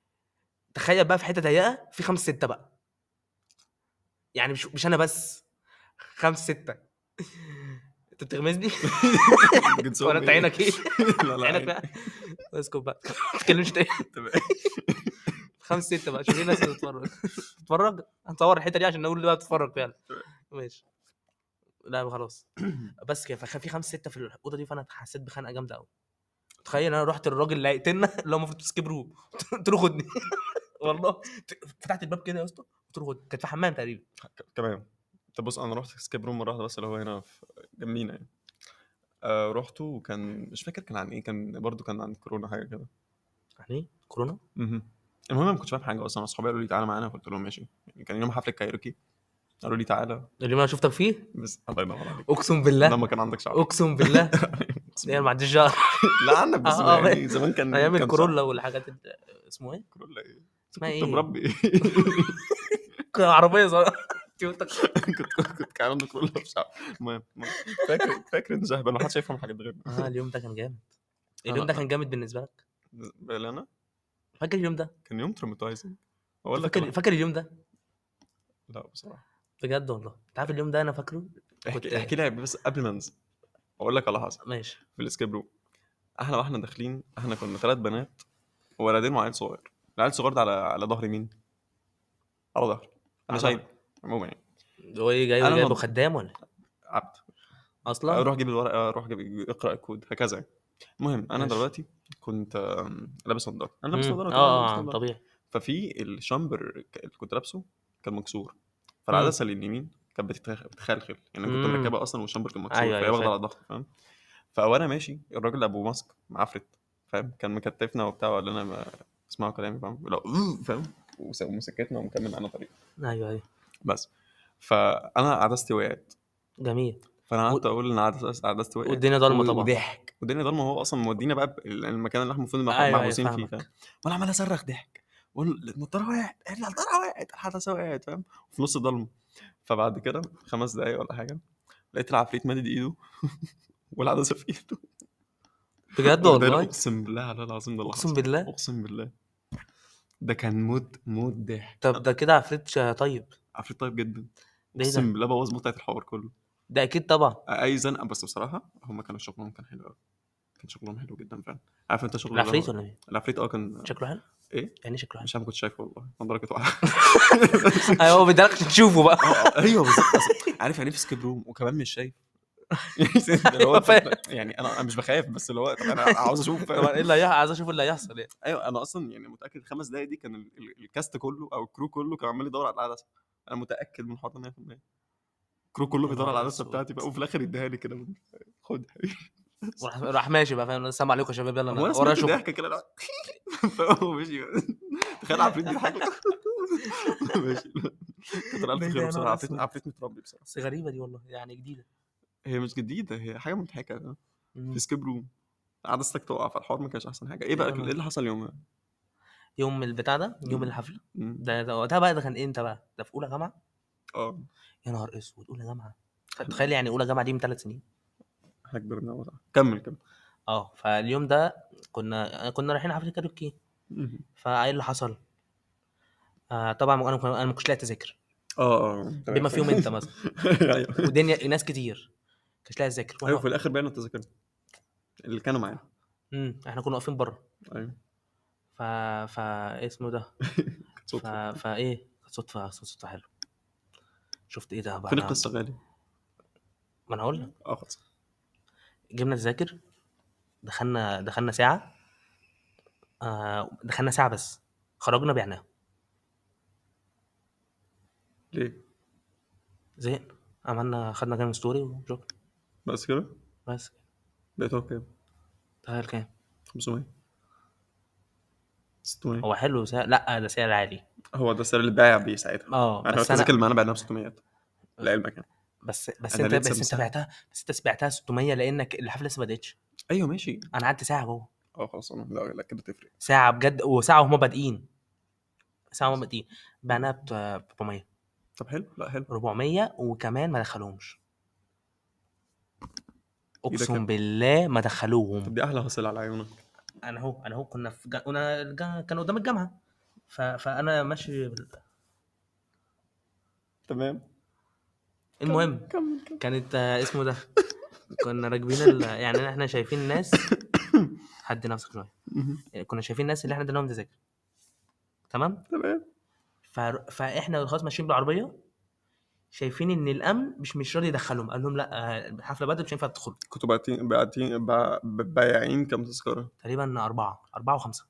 Speaker 2: تخيل بقى في حته ضيقه في خمس سته بقى يعني مش مش انا بس خمس سته انت بتغمزني ولا انت عينك
Speaker 1: إيه؟
Speaker 2: ايه؟
Speaker 1: لا لا
Speaker 2: عينك
Speaker 1: عيني.
Speaker 2: بقى اسكت بقى ما تتكلمش تاني
Speaker 1: تمام.
Speaker 2: خمس ستة بقى شوف ليه الناس بتتفرج تتفرج هنصور الحته دي عشان نقول اللي بقى بتتفرج فعلا ماشي لا خلاص بس كده فكان في خمس ستة في الاوضه دي فانا حسيت بخنقه جامده قوي تخيل انا رحت للراجل اللي هيقتلنا اللي هو المفروض سكيب روم قلت له خدني والله فتحت الباب كده يا اسطى قلت له خدني كانت في حمام تقريبا
Speaker 1: تمام طب بص انا رحت سكيب روم مره واحده بس اللي هو هنا في جنبينا يعني آه رحته وكان مش فاكر كان عن ايه كان برضو كان عن كورونا حاجه كده
Speaker 2: يعني كورونا
Speaker 1: مهم. المهم أنا ما كنتش فاهم حاجه اصلا اصحابي قالوا لي تعالى معانا قلت لهم ماشي يعني كان يوم حفله كايروكي قالوا لي تعالى
Speaker 2: اليوم انا شفتك فيه
Speaker 1: بس الله ينور عليك
Speaker 2: اقسم بالله
Speaker 1: لما كان عندك شعر
Speaker 2: اقسم بالله يعني ما عنديش جار
Speaker 1: لا عندك بس
Speaker 2: آه، آه.
Speaker 1: يعني زمان كان
Speaker 2: ايام
Speaker 1: كان
Speaker 2: الكورولا والحاجات ال- اسمه ايه؟
Speaker 1: صعب. كورولا ايه
Speaker 2: اسمها
Speaker 1: كنت
Speaker 2: ايه؟
Speaker 1: مربي
Speaker 2: عربيه صغيره تويوتا
Speaker 1: كنت كنت كان عندك كورولا في شعر المهم المهم. فاكر فاكر ان زهبل ما حدش هيفهم حاجات غيرنا
Speaker 2: اه اليوم ده كان جامد
Speaker 1: أنا-
Speaker 2: اليوم ده كان جامد بالنسبه لك
Speaker 1: بالنسبة لي انا
Speaker 2: فاكر اليوم ده
Speaker 1: كان يوم تروماتايزنج
Speaker 2: أنت
Speaker 1: اقول لك
Speaker 2: فاكر
Speaker 1: أنا-
Speaker 2: فاكر اليوم ده
Speaker 1: لا بصراحه
Speaker 2: بجد والله انت عارف اليوم ده انا فاكره كنت- إيه؟
Speaker 1: احكي احكي لي بس قبل ما انزل اقول لك على حصل
Speaker 2: ماشي
Speaker 1: في الاسكيب روم احنا واحنا داخلين احنا كنا ثلاث بنات وولدين وعيل صغير العيل الصغير ده على على ظهر مين؟ على ظهري انا
Speaker 2: على
Speaker 1: شايل عموما يعني
Speaker 2: هو ايه جاي
Speaker 1: أنا
Speaker 2: جايبه
Speaker 1: مض-
Speaker 2: خدام ولا إيه؟
Speaker 1: عبد
Speaker 2: اصلا
Speaker 1: روح جيب الورقه روح جيب اقرا الكود هكذا يعني المهم انا
Speaker 2: ماشي.
Speaker 1: دلوقتي كنت آم، لابس نضاره انا
Speaker 2: مم.
Speaker 1: لابس نضاره طبعاً، لابس
Speaker 2: اه آه،
Speaker 1: نضارة.
Speaker 2: طبيعي
Speaker 1: ففي الشامبر ك- اللي كنت لابسه كان مكسور فالعدسه اللي اليمين كانت بتتخ- بتخلخل يعني أنا كنت
Speaker 2: مم.
Speaker 1: مركبها اصلا والشامبر كان مكسور
Speaker 2: أيوة،
Speaker 1: فهي
Speaker 2: أيوة،
Speaker 1: واخده
Speaker 2: فاهم.
Speaker 1: على ضغط فاهم فوانا ماشي الراجل ابو ماسك معفرت فاهم كان مكتفنا وبتاع ولا انا ما اسمعوا كلامي فاهم لا فاهم وس- ومسكتنا ومكمل معانا طريق
Speaker 2: ايوه ايوه
Speaker 1: بس فانا عدستي وقعت
Speaker 2: جميل
Speaker 1: فانا قعدت اقول ان عدستي عدستي وقعت
Speaker 2: والدنيا ضلمه
Speaker 1: و-
Speaker 2: طبعا
Speaker 1: وضحك والدنيا ضلمه هو اصلا مودينا بقى ب- المكان اللي احنا المفروض مح-
Speaker 2: أيوة، أيوة،
Speaker 1: محبوسين فيه
Speaker 2: فاهمك.
Speaker 1: فاهم وانا عمال اصرخ ضحك واقول النضاره وقعت قال لي النضاره وقعت الحدثه وقعت فاهم وفي نص الضلمه فبعد كده خمس دقايق ولا حاجه لقيت العفريت مادد ايده والعدسه في ايده
Speaker 2: بجد
Speaker 1: وده
Speaker 2: والله
Speaker 1: اقسم بالله على العظيم ده اللي
Speaker 2: اقسم
Speaker 1: حصل.
Speaker 2: بالله
Speaker 1: اقسم بالله ده كان موت موت ضحك
Speaker 2: طب ده كده عفريت شا- طيب
Speaker 1: عفريت طيب جدا
Speaker 2: ده ايه ده
Speaker 1: اقسم بالله بوظ متعه الحوار كله
Speaker 2: ده اكيد طبعا
Speaker 1: اي زنقه بس بصراحه هم كانوا شغلهم كان حلو قوي كان شغلهم حلو جدا فعلا عارف انت شغل اللي هو-
Speaker 2: العفريت ولا ايه
Speaker 1: العفريت اه كان
Speaker 2: شكله حلو
Speaker 1: ايه
Speaker 2: يعني شكله حلو
Speaker 1: مش عارف ما كنتش شايفه والله نظرك اتوقع
Speaker 2: ايوه هو بدالك تشوفه بقى
Speaker 1: اه، ايوه بالظبط أصل عارف يعني في سكيب روم وكمان مش شايف اللي هو
Speaker 2: أيوة فاهم.
Speaker 1: أنت- يعني انا انا مش بخاف بس اللي هو طب إيه انا عاوز اشوف
Speaker 2: طبعا
Speaker 1: فاهم؟
Speaker 2: ايه اللي هيحصل عايز اشوف اللي هيحصل يعني
Speaker 1: ايوه انا اصلا يعني متاكد الخمس دقايق دي كان ال- ال- الكاست كله او الكرو كله كان عمال يدور على العدسه انا متاكد من الحوار ده 100% الكرو كله
Speaker 2: يا
Speaker 1: بيدور على
Speaker 2: نهار
Speaker 1: العدسه
Speaker 2: أسود.
Speaker 1: بتاعتي بقى وفي الاخر يديها لي كده خد
Speaker 2: وراح- راح ماشي بقى فاهم السلام عليكم يا شباب يلا انا
Speaker 1: هو انا
Speaker 2: ورايا
Speaker 1: سمعت
Speaker 2: شغل
Speaker 1: ضحكه كده اللي هو فهو مشي تخيل عفريت بيضحك ماشي كتر الف
Speaker 2: ده
Speaker 1: خير
Speaker 2: أنا
Speaker 1: بصراحه
Speaker 2: ولا
Speaker 1: عفريت
Speaker 2: أسود.
Speaker 1: عفريت متربي بصراحه
Speaker 2: بس غريبه دي والله يعني جديده
Speaker 1: هي مش جديده هي حاجه مضحكه
Speaker 2: مم.
Speaker 1: في سكيب روم عدستك تقع فالحوار ما كانش احسن حاجه ايه بقى
Speaker 2: أيوة أنا-
Speaker 1: ايه اللي حصل يومها؟
Speaker 2: يوم البتاع ده يوم
Speaker 1: مم.
Speaker 2: الحفله
Speaker 1: مم.
Speaker 2: ده ده وقتها بقى ده كان امتى بقى ده في اولى جامعه
Speaker 1: اه
Speaker 2: يا نهار اسود اولى جامعه تخيل يعني اولى جامعه دي من ثلاث سنين
Speaker 1: احنا كبرنا وضع كمل كمل
Speaker 2: اه فاليوم ده كنا كنا رايحين حفله كاريوكي
Speaker 1: مم.
Speaker 2: فايه اللي حصل آه طبعا انا انا ما كنتش لاقي تذاكر
Speaker 1: اه اه تمام.
Speaker 2: بما فيهم انت مثلا
Speaker 1: ايوه
Speaker 2: ودنيا ناس كتير ما كنتش لاقي تذاكر
Speaker 1: ايوه في
Speaker 2: وإحنا-
Speaker 1: الاخر بقينا التذاكر اللي كانوا معانا
Speaker 2: مم، احنا كنا واقفين بره
Speaker 1: ايوه
Speaker 2: ف ف اسمه ده
Speaker 1: كانت
Speaker 2: ف...
Speaker 1: صدفه
Speaker 2: فايه كانت صدفه صدفه حلوه شفت ايه ده بقى
Speaker 1: فين
Speaker 2: أنا-
Speaker 1: القصه غالي؟
Speaker 2: ما انا هقول لك
Speaker 1: اه خلاص
Speaker 2: جبنا تذاكر دخلنا دخلنا ساعه آه دخلنا ساعه بس خرجنا بعناها
Speaker 1: ليه؟
Speaker 2: زهقنا عملنا خدنا كام ستوري وشكرا
Speaker 1: بس كده؟
Speaker 2: بس
Speaker 1: لقيتها بكام؟
Speaker 2: تخيل كام
Speaker 1: 500 600
Speaker 2: هو حلو سعر لا ده سعر عالي
Speaker 1: هو ده السعر اللي باع بيه ساعتها
Speaker 2: اه
Speaker 1: انا
Speaker 2: بس
Speaker 1: التذاكر
Speaker 2: انا
Speaker 1: اللي معانا بعناها ب 600 لعلمك يعني
Speaker 2: بس بس
Speaker 1: أنا
Speaker 2: انت
Speaker 1: ليه
Speaker 2: بس انت
Speaker 1: سمسار؟
Speaker 2: بعتها بس انت بعتها 600 لانك الحفله لسه ما بداتش
Speaker 1: ايوه ماشي
Speaker 2: انا قعدت ساعه جوه
Speaker 1: اه خلاص انا لا لا كده تفرق
Speaker 2: ساعه بجد وساعه وهم بادئين ساعه وهم بادئين بعناها ب 400
Speaker 1: طب حلو لا حلو
Speaker 2: 400 وكمان ما دخلوهمش
Speaker 1: إيه ده كام؟
Speaker 2: اقسم بالله ما
Speaker 1: طب
Speaker 2: دخلوهم
Speaker 1: دي احلى حصيله على عيونك
Speaker 2: انا هو انا هو كنا في جا... انا الجا... كان قدام الجامعه ف... فانا ماشي بال-
Speaker 1: تمام
Speaker 2: المهم
Speaker 1: كمل كمل
Speaker 2: كانت آه، اسمه ده كنا راكبين ال... يعني احنا شايفين ناس حد نفسك شويه
Speaker 1: مهم.
Speaker 2: كنا شايفين الناس اللي احنا ادينا لهم تذاكر تمام
Speaker 1: تمام
Speaker 2: ف... فاحنا خلاص ماشيين بالعربيه شايفين ان الامن مش مش راضي يدخلهم قال لهم لا آه، الحفله بدات مش هينفع تدخلوا
Speaker 1: كنتوا باعتين باعتين باع- بايعين كام تذكره؟
Speaker 2: تقريبا اربعه اربعه وخمسه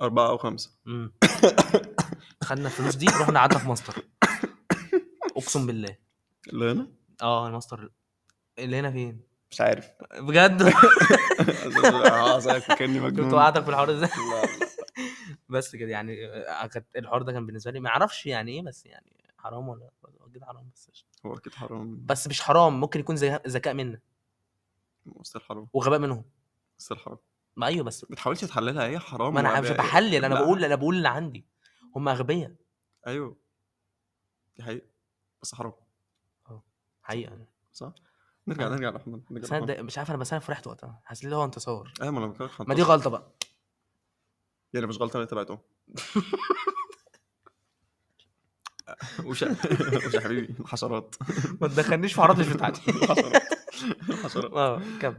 Speaker 1: أربعة أو خمسة
Speaker 2: امم خدنا الفلوس دي رحنا قعدنا في ماستر اقسم بالله
Speaker 1: اللي هنا؟
Speaker 2: اه الماستر اللي هنا فين
Speaker 1: مش عارف
Speaker 2: بجد
Speaker 1: عايزك كأني مجنون
Speaker 2: كنت وقعتك في الحوار ازاي
Speaker 1: لا، لا.
Speaker 2: بس كده يعني آه، كانت- الحوار ده كان بالنسبه لي ما اعرفش يعني ايه بس يعني حرام ولا ولا اكيد حرام بس قشطة.
Speaker 1: هو أكيد حرام
Speaker 2: بس مش حرام ممكن يكون ذكاء ذكاء منا
Speaker 1: مستر حرام
Speaker 2: وغباء منهم
Speaker 1: مستر حرام
Speaker 2: ما ايوه بس
Speaker 1: ما تحاولش تحللها هي حرام
Speaker 2: ما انا مش
Speaker 1: وغباء.
Speaker 2: بحلل انا
Speaker 1: لا.
Speaker 2: بقول انا بقول اللي عندي هم اغبياء
Speaker 1: أيوه دي حقيقة بس حرام
Speaker 2: حقيقه
Speaker 1: صح؟ نرجع
Speaker 2: أنا-
Speaker 1: نرجع لأحمد
Speaker 2: بس
Speaker 1: نرجع
Speaker 2: انا
Speaker 1: لأحمد.
Speaker 2: اتضايق- مش عارف انا بس انا فرحت وقتها حسيت اللي هو انتصار
Speaker 1: أيوه ما أنا بكلمك
Speaker 2: ما دي غلطه بقى
Speaker 1: يعني مش غلطة أنا تبعتهم وش وش يا حبيبي الحشرات
Speaker 2: ما تدخلنيش في حارات مش بتاعتي
Speaker 1: الحشرات الحشرات
Speaker 2: اه كم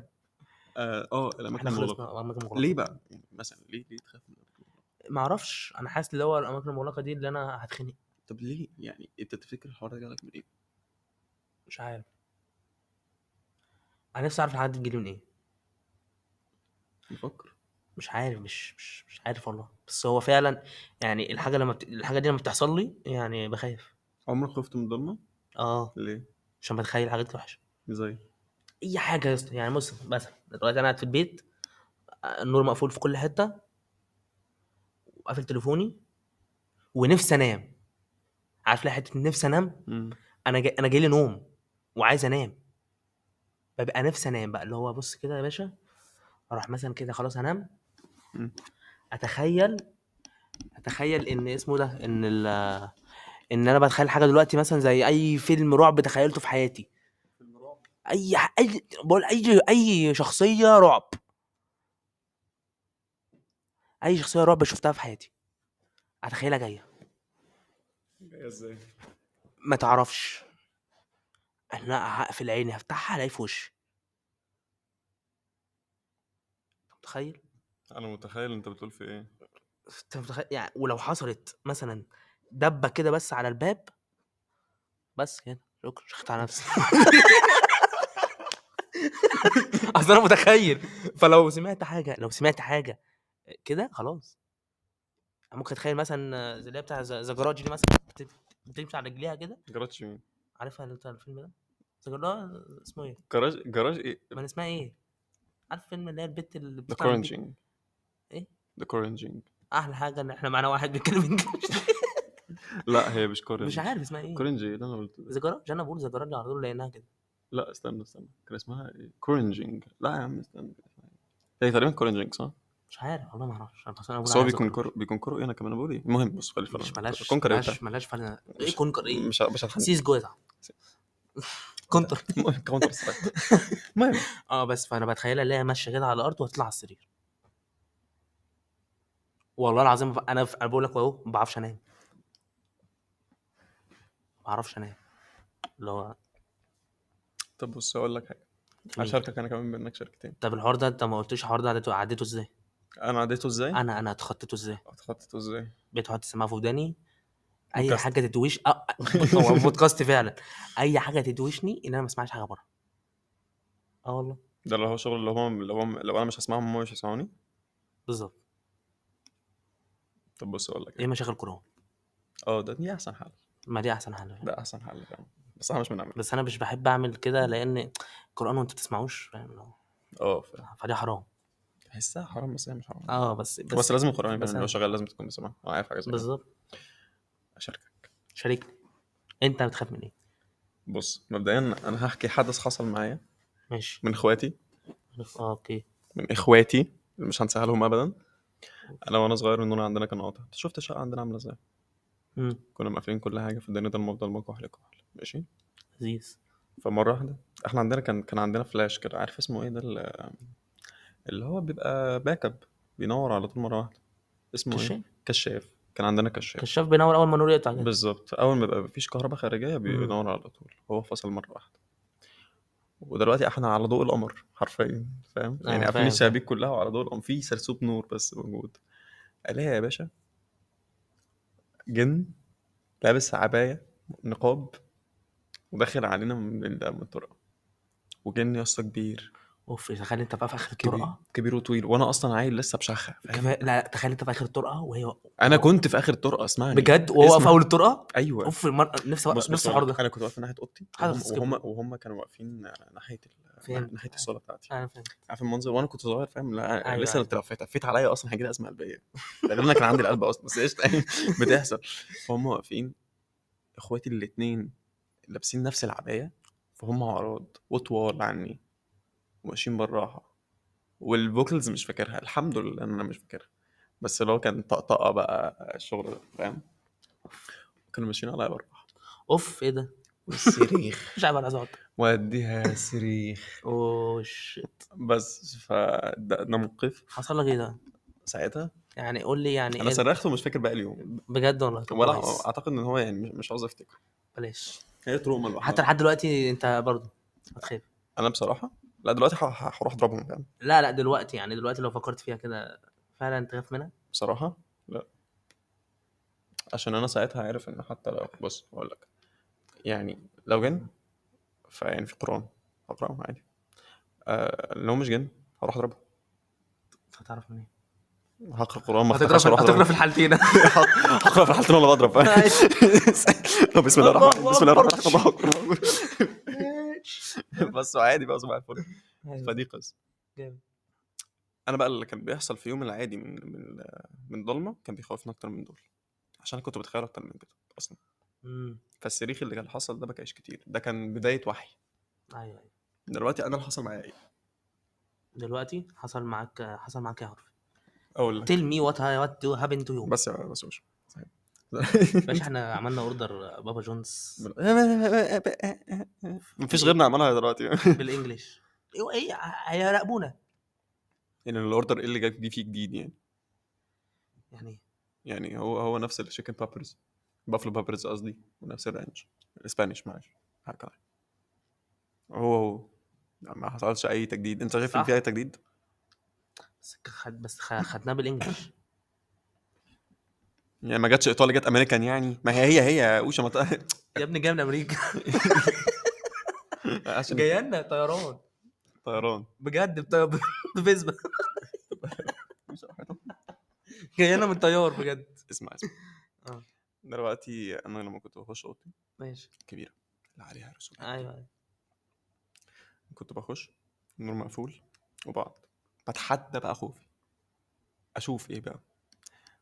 Speaker 1: اه آه، الأماكن
Speaker 2: احنا
Speaker 1: المغلقة
Speaker 2: خلصنا اماكن مغلقه
Speaker 1: ليه بقى؟ يعني مثلا ليه ليه تخاف من الأماكن المغلقة؟
Speaker 2: ما اعرفش انا حاسس اللي هو الاماكن المغلقه دي اللي انا هتخنق
Speaker 1: طب ليه؟ يعني أنت تفتكر الحوار ده جالك من إيه؟
Speaker 2: مش عارف انا نفسي اعرف الحاجات دي بتجيلي من ايه
Speaker 1: نفكر
Speaker 2: مش عارف مش مش مش عارف والله بس هو فعلا يعني الحاجه لما بت... الحاجه دي لما بتحصل لي يعني بخاف
Speaker 1: عمرك خفت من الضلمة؟
Speaker 2: اه
Speaker 1: ليه؟
Speaker 2: عشان بتخيل حاجات وحشه
Speaker 1: ازاي؟
Speaker 2: اي حاجه يا اسطى يعني بص مثلا دلوقتي انا قاعد في البيت النور مقفول في كل حته وقافل تليفوني ونفسي انام عارف ليه حته نفسي انام انا جاي انا جاي لي نوم وعايز انام ببقى نفسي انام بقى اللي هو بص كده يا باشا اروح مثلا كده خلاص انام
Speaker 1: مم.
Speaker 2: اتخيل اتخيل ان اسمه ده ان ال ان انا بتخيل حاجه دلوقتي مثلا زي اي فيلم رعب تخيلته في حياتي اي ح- اي بقول اي اي شخصيه رعب اي شخصيه رعب شفتها في حياتي اتخيلها جايه
Speaker 1: ازاي
Speaker 2: ما تعرفش انا هقفل عيني هفتحها الاقي في وشي أنت متخيل
Speaker 1: انا متخيل انت بتقول في ايه
Speaker 2: انت متخيل يعني ولو حصلت مثلا دبه كده بس على الباب بس كده شكرا شخت على نفسي اصل انا متخيل فلو سمعت حاجه لو سمعت حاجه كده خلاص ممكن اتخيل مثلا زي اللي هي بتاع ذا جراج دي مثلا بت- بتمشي على رجليها كده
Speaker 1: جراج مين
Speaker 2: عارفها اللي بتاع الفيلم ده ذا جراج اسمه ايه؟
Speaker 1: جراج جراج ايه
Speaker 2: ما اسمها ايه؟ عارف فيلم اللي هي البت اللي
Speaker 1: ذا
Speaker 2: بتطلع من البيت؟
Speaker 1: كورنجينج
Speaker 2: إيه؟
Speaker 1: ذا كورنجينج
Speaker 2: احلى حاجه ان احنا معانا واحد بيتكلم انجلش
Speaker 1: لا هي مش كورنج
Speaker 2: مش عارف اسمها ايه
Speaker 1: كورنجي اللي انا قلت
Speaker 2: ذا جراج انا بقول ذا جراج على طول لقيناها كده
Speaker 1: لا استنى استنى كان اسمها ايه كورنجينج لا يا عم استنى كان اسمها إيه؟ هي تقريبا كورنجينج صح؟
Speaker 2: مش عارف والله ما اعرفش انا بس انا
Speaker 1: بس هو بيكون كور بيكون كور ايه انا كمان بقول ايه المهم بص خلي
Speaker 2: مش
Speaker 1: فعلا
Speaker 2: ملاش
Speaker 1: كونكر إيه
Speaker 2: ملاش ملاش فعلا ايه
Speaker 1: مش-
Speaker 2: كونكر
Speaker 1: بتاع-
Speaker 2: ايه
Speaker 1: مش مش هتحدد
Speaker 2: سيس جوزع كونتر
Speaker 1: المهم كونتر سترايك المهم
Speaker 2: اه بس فانا بتخيلها اللي هي ماشيه كده على الارض وهتطلع على السرير والله العظيم ب- انا انا بقول لك اهو ما بعرفش انام ما بعرفش انام اللي هو
Speaker 1: طب بص اقول لك حاجه
Speaker 2: مين؟
Speaker 1: هشاركك انا كمان بانك شاركتين
Speaker 2: يعني طب الحوار ده انت ما قلتش الحوار ده عديته عديته ازاي؟
Speaker 1: انا عديته ازاي؟
Speaker 2: انا انا اتخطيته ازاي؟
Speaker 1: اتخطيته ازاي؟
Speaker 2: بقيت اقعد اسمعها في وداني اي
Speaker 1: بودكاست.
Speaker 2: حاجه تدويش اه هو بودكاست فعلا اي حاجه تدوشني ان انا ما اسمعش حاجه بره اه والله
Speaker 1: ده اللي هو شغل اللي هو اللي هو لو انا مش هسمعهم هم مش هيسمعوني
Speaker 2: بالظبط
Speaker 1: طب بص اقول لك
Speaker 2: ايه مشاغل كورونا
Speaker 1: اه ده دي احسن حل
Speaker 2: ما دي احسن حل
Speaker 1: ده احسن حل فعلا بس انا مش بنعمل
Speaker 2: بس انا مش بحب اعمل كده
Speaker 1: إمم.
Speaker 2: لان القران وانت بتسمعوش فاهم لو-
Speaker 1: اه فعلا
Speaker 2: فدي حرام
Speaker 1: تحسها حرام بس هي مش حرام
Speaker 2: اه بس
Speaker 1: آه، بس, بس لازم القران
Speaker 2: بس
Speaker 1: يبان
Speaker 2: أنا-
Speaker 1: لو شغال لازم تكون بتسمعه اه عارف حاجه زي كده
Speaker 2: بالظبط
Speaker 1: اشاركك
Speaker 2: شاركني انت بتخاف من ايه
Speaker 1: بص مبدئيا انا هحكي حدث حصل معايا
Speaker 2: ماشي
Speaker 1: من اخواتي
Speaker 2: اه اوكي
Speaker 1: من اخواتي اللي مش هنساها لهم ابدا انا وانا صغير النور عندنا كان قاطع أنت شفت الشقه عندنا عامله ازاي
Speaker 2: امم
Speaker 1: كنا مقفلين كل حاجه في الدنيا ده المفضل مكوح لكحل ماشي
Speaker 2: لذيذ
Speaker 1: فمره واحده احنا عندنا كان كان عندنا فلاش كده عارف اسمه ايه ده ال- اللي هو بيبقى باك اب بينور على طول مره واحده اسمه ايه
Speaker 2: كشاف.
Speaker 1: كشاف كان عندنا كشاف
Speaker 2: كشاف بينور اول ما النور يقطع كده.
Speaker 1: بالظبط اول ما بقى مفيش كهرباء خارجيه بينور على طول هو فصل مره واحده ودلوقتي احنا على ضوء القمر حرفيا فاهم
Speaker 2: آه،
Speaker 1: يعني
Speaker 2: فاهم،
Speaker 1: قافلين الشبابيك كلها وعلى ضوء القمر في سرسوب نور بس موجود الاقي يا باشا جن لابس عبايه نقاب وداخل علينا من ال- من الطرقه وجن يا اسطى كبير
Speaker 2: اوف تخيل انت بقى في اخر
Speaker 1: كبير
Speaker 2: الطرقه
Speaker 1: كبير وطويل وانا اصلا عيل لسه بشخه فاهم
Speaker 2: كفاية- لا لا، تخيل انت في اخر الطرقه وهي
Speaker 1: انا كنت في اخر الطرقه اسمعني
Speaker 2: بجد وهو في
Speaker 1: اسمع.
Speaker 2: اول الطرقه
Speaker 1: ايوه
Speaker 2: اوف المر... نفسي
Speaker 1: بص بص
Speaker 2: نفس الحوار ده
Speaker 1: انا كنت واقف من ناحيه اوضتي
Speaker 2: حاضر،
Speaker 1: وهم-
Speaker 2: سكيب.
Speaker 1: وهم وهم كانوا واقفين ناحيه
Speaker 2: فهمت.
Speaker 1: ال...
Speaker 2: آه.
Speaker 1: ناحيه الصاله بتاعتي
Speaker 2: انا فاهم
Speaker 1: عارف المنظر وانا كنت صغير فاهم لا أيوة
Speaker 2: أيوة،
Speaker 1: لسه
Speaker 2: أيوة.
Speaker 1: انت لو تفيت عليا اصلا هيجي لي ازمه قلبيه ده غير إن انا كان عندي القلب اصلا بس قشطه يعني بتحصل فهم واقفين اخواتي الاثنين لابسين نفس العبايه فهم عراض وطوال عني وماشيين بالراحه والفوكلز مش فاكرها الحمد لله ان انا مش فاكرها بس اللي هو كان طقطقه بقى الشغل ده فاهم كانوا ماشيين عليا بالراحه
Speaker 2: اوف ايه ده
Speaker 1: والسريخ
Speaker 2: مش عارف انا عايز اقعد
Speaker 1: واديها سريخ
Speaker 2: اوش
Speaker 1: بس فده ده موقف
Speaker 2: حصل لك ايه ده
Speaker 1: ساعتها
Speaker 2: يعني قول لي يعني
Speaker 1: انا
Speaker 2: ايه
Speaker 1: صرخت ومش فاكر باقي اليوم
Speaker 2: بجد والله طب
Speaker 1: ولا
Speaker 2: كويس.
Speaker 1: اعتقد ان هو يعني مش- مش عاوز افتكره
Speaker 2: بلاش
Speaker 1: هي تروما لوحدها
Speaker 2: حتى لحد دلوقتي انت برضه هتخاف
Speaker 1: انا بصراحه لا دلوقتي ه- ه- هروح اضربهم فاهم
Speaker 2: لا لا دلوقتي يعني دلوقتي لو فكرت فيها كده فعلا تخاف منها
Speaker 1: بصراحه لا عشان انا ساعتها عارف ان حتى لو بص اقول لك يعني لو جن فيعني في قران هقراهم عادي آه لو مش جن هروح اضربهم
Speaker 2: انت هتعرف منين
Speaker 1: هقرا قران ما
Speaker 2: هتقرا
Speaker 1: افتكرش
Speaker 2: في-
Speaker 1: هروح
Speaker 2: هتقرا
Speaker 1: أضربهم.
Speaker 2: في الحالتين
Speaker 1: هقرا في الحالتين ولا بضرب
Speaker 2: ماشي.
Speaker 1: طب بسم الله الرحمن
Speaker 2: الله
Speaker 1: بسم الله
Speaker 2: أكبر.
Speaker 1: الرحمن الرحيم بس عادي بقى صباح الفل فدي قصه
Speaker 2: أيوة. جامد.
Speaker 1: انا بقى اللي كان بيحصل في يوم العادي من من من ضلمه كان بيخوفني اكتر من دول عشان أنا كنت بتخيل اكتر من كده اصلا
Speaker 2: أمم،
Speaker 1: فالسريخ اللي كان حصل ده ما كانش كتير ده كان بدايه وحي
Speaker 2: ايوه ايوه
Speaker 1: دلوقتي انا اللي حصل معايا ايه
Speaker 2: دلوقتي حصل معاك حصل معاك ايه يا عرفي
Speaker 1: اقول لك
Speaker 2: تيل مي وات وات هابن تو يو
Speaker 1: بس يا بس يا باشا.
Speaker 2: ماشي احنا عملنا اوردر بابا جونز
Speaker 1: مفيش غيرنا عملها دلوقتي
Speaker 2: بالانجلش ايوه ايه هيراقبونا
Speaker 1: يعني الاوردر اللي جاي دي فيه جديد يعني
Speaker 2: يعني
Speaker 1: يعني هو هو نفس الشيكن بابرز بافلو بابرز قصدي ونفس الرانش الاسبانيش معلش هكذا هو هو ما حصلش اي تجديد انت شايف ان
Speaker 2: صح.
Speaker 1: في اي تجديد
Speaker 2: بس خد بس خ- خدناه بالانجلش
Speaker 1: يعني ما جاتش ايطاليا جت امريكان يعني ما هي هي هي يا اوشا ما ت-
Speaker 2: يا ابني جاي من امريكا
Speaker 1: عشان
Speaker 2: جايه لنا طيران
Speaker 1: طيران
Speaker 2: بجد بط- بفيسبا جايه لنا من طيار بجد
Speaker 1: اسمع اسمع
Speaker 2: آه.
Speaker 1: دلوقتي انا لما كنت بخش اوضتي
Speaker 2: ماشي
Speaker 1: كبيره اللي عليها رسومات
Speaker 2: ايوه
Speaker 1: كنت بخش النور مقفول وبقعد بتحدى بقى خوفي اشوف ايه بقى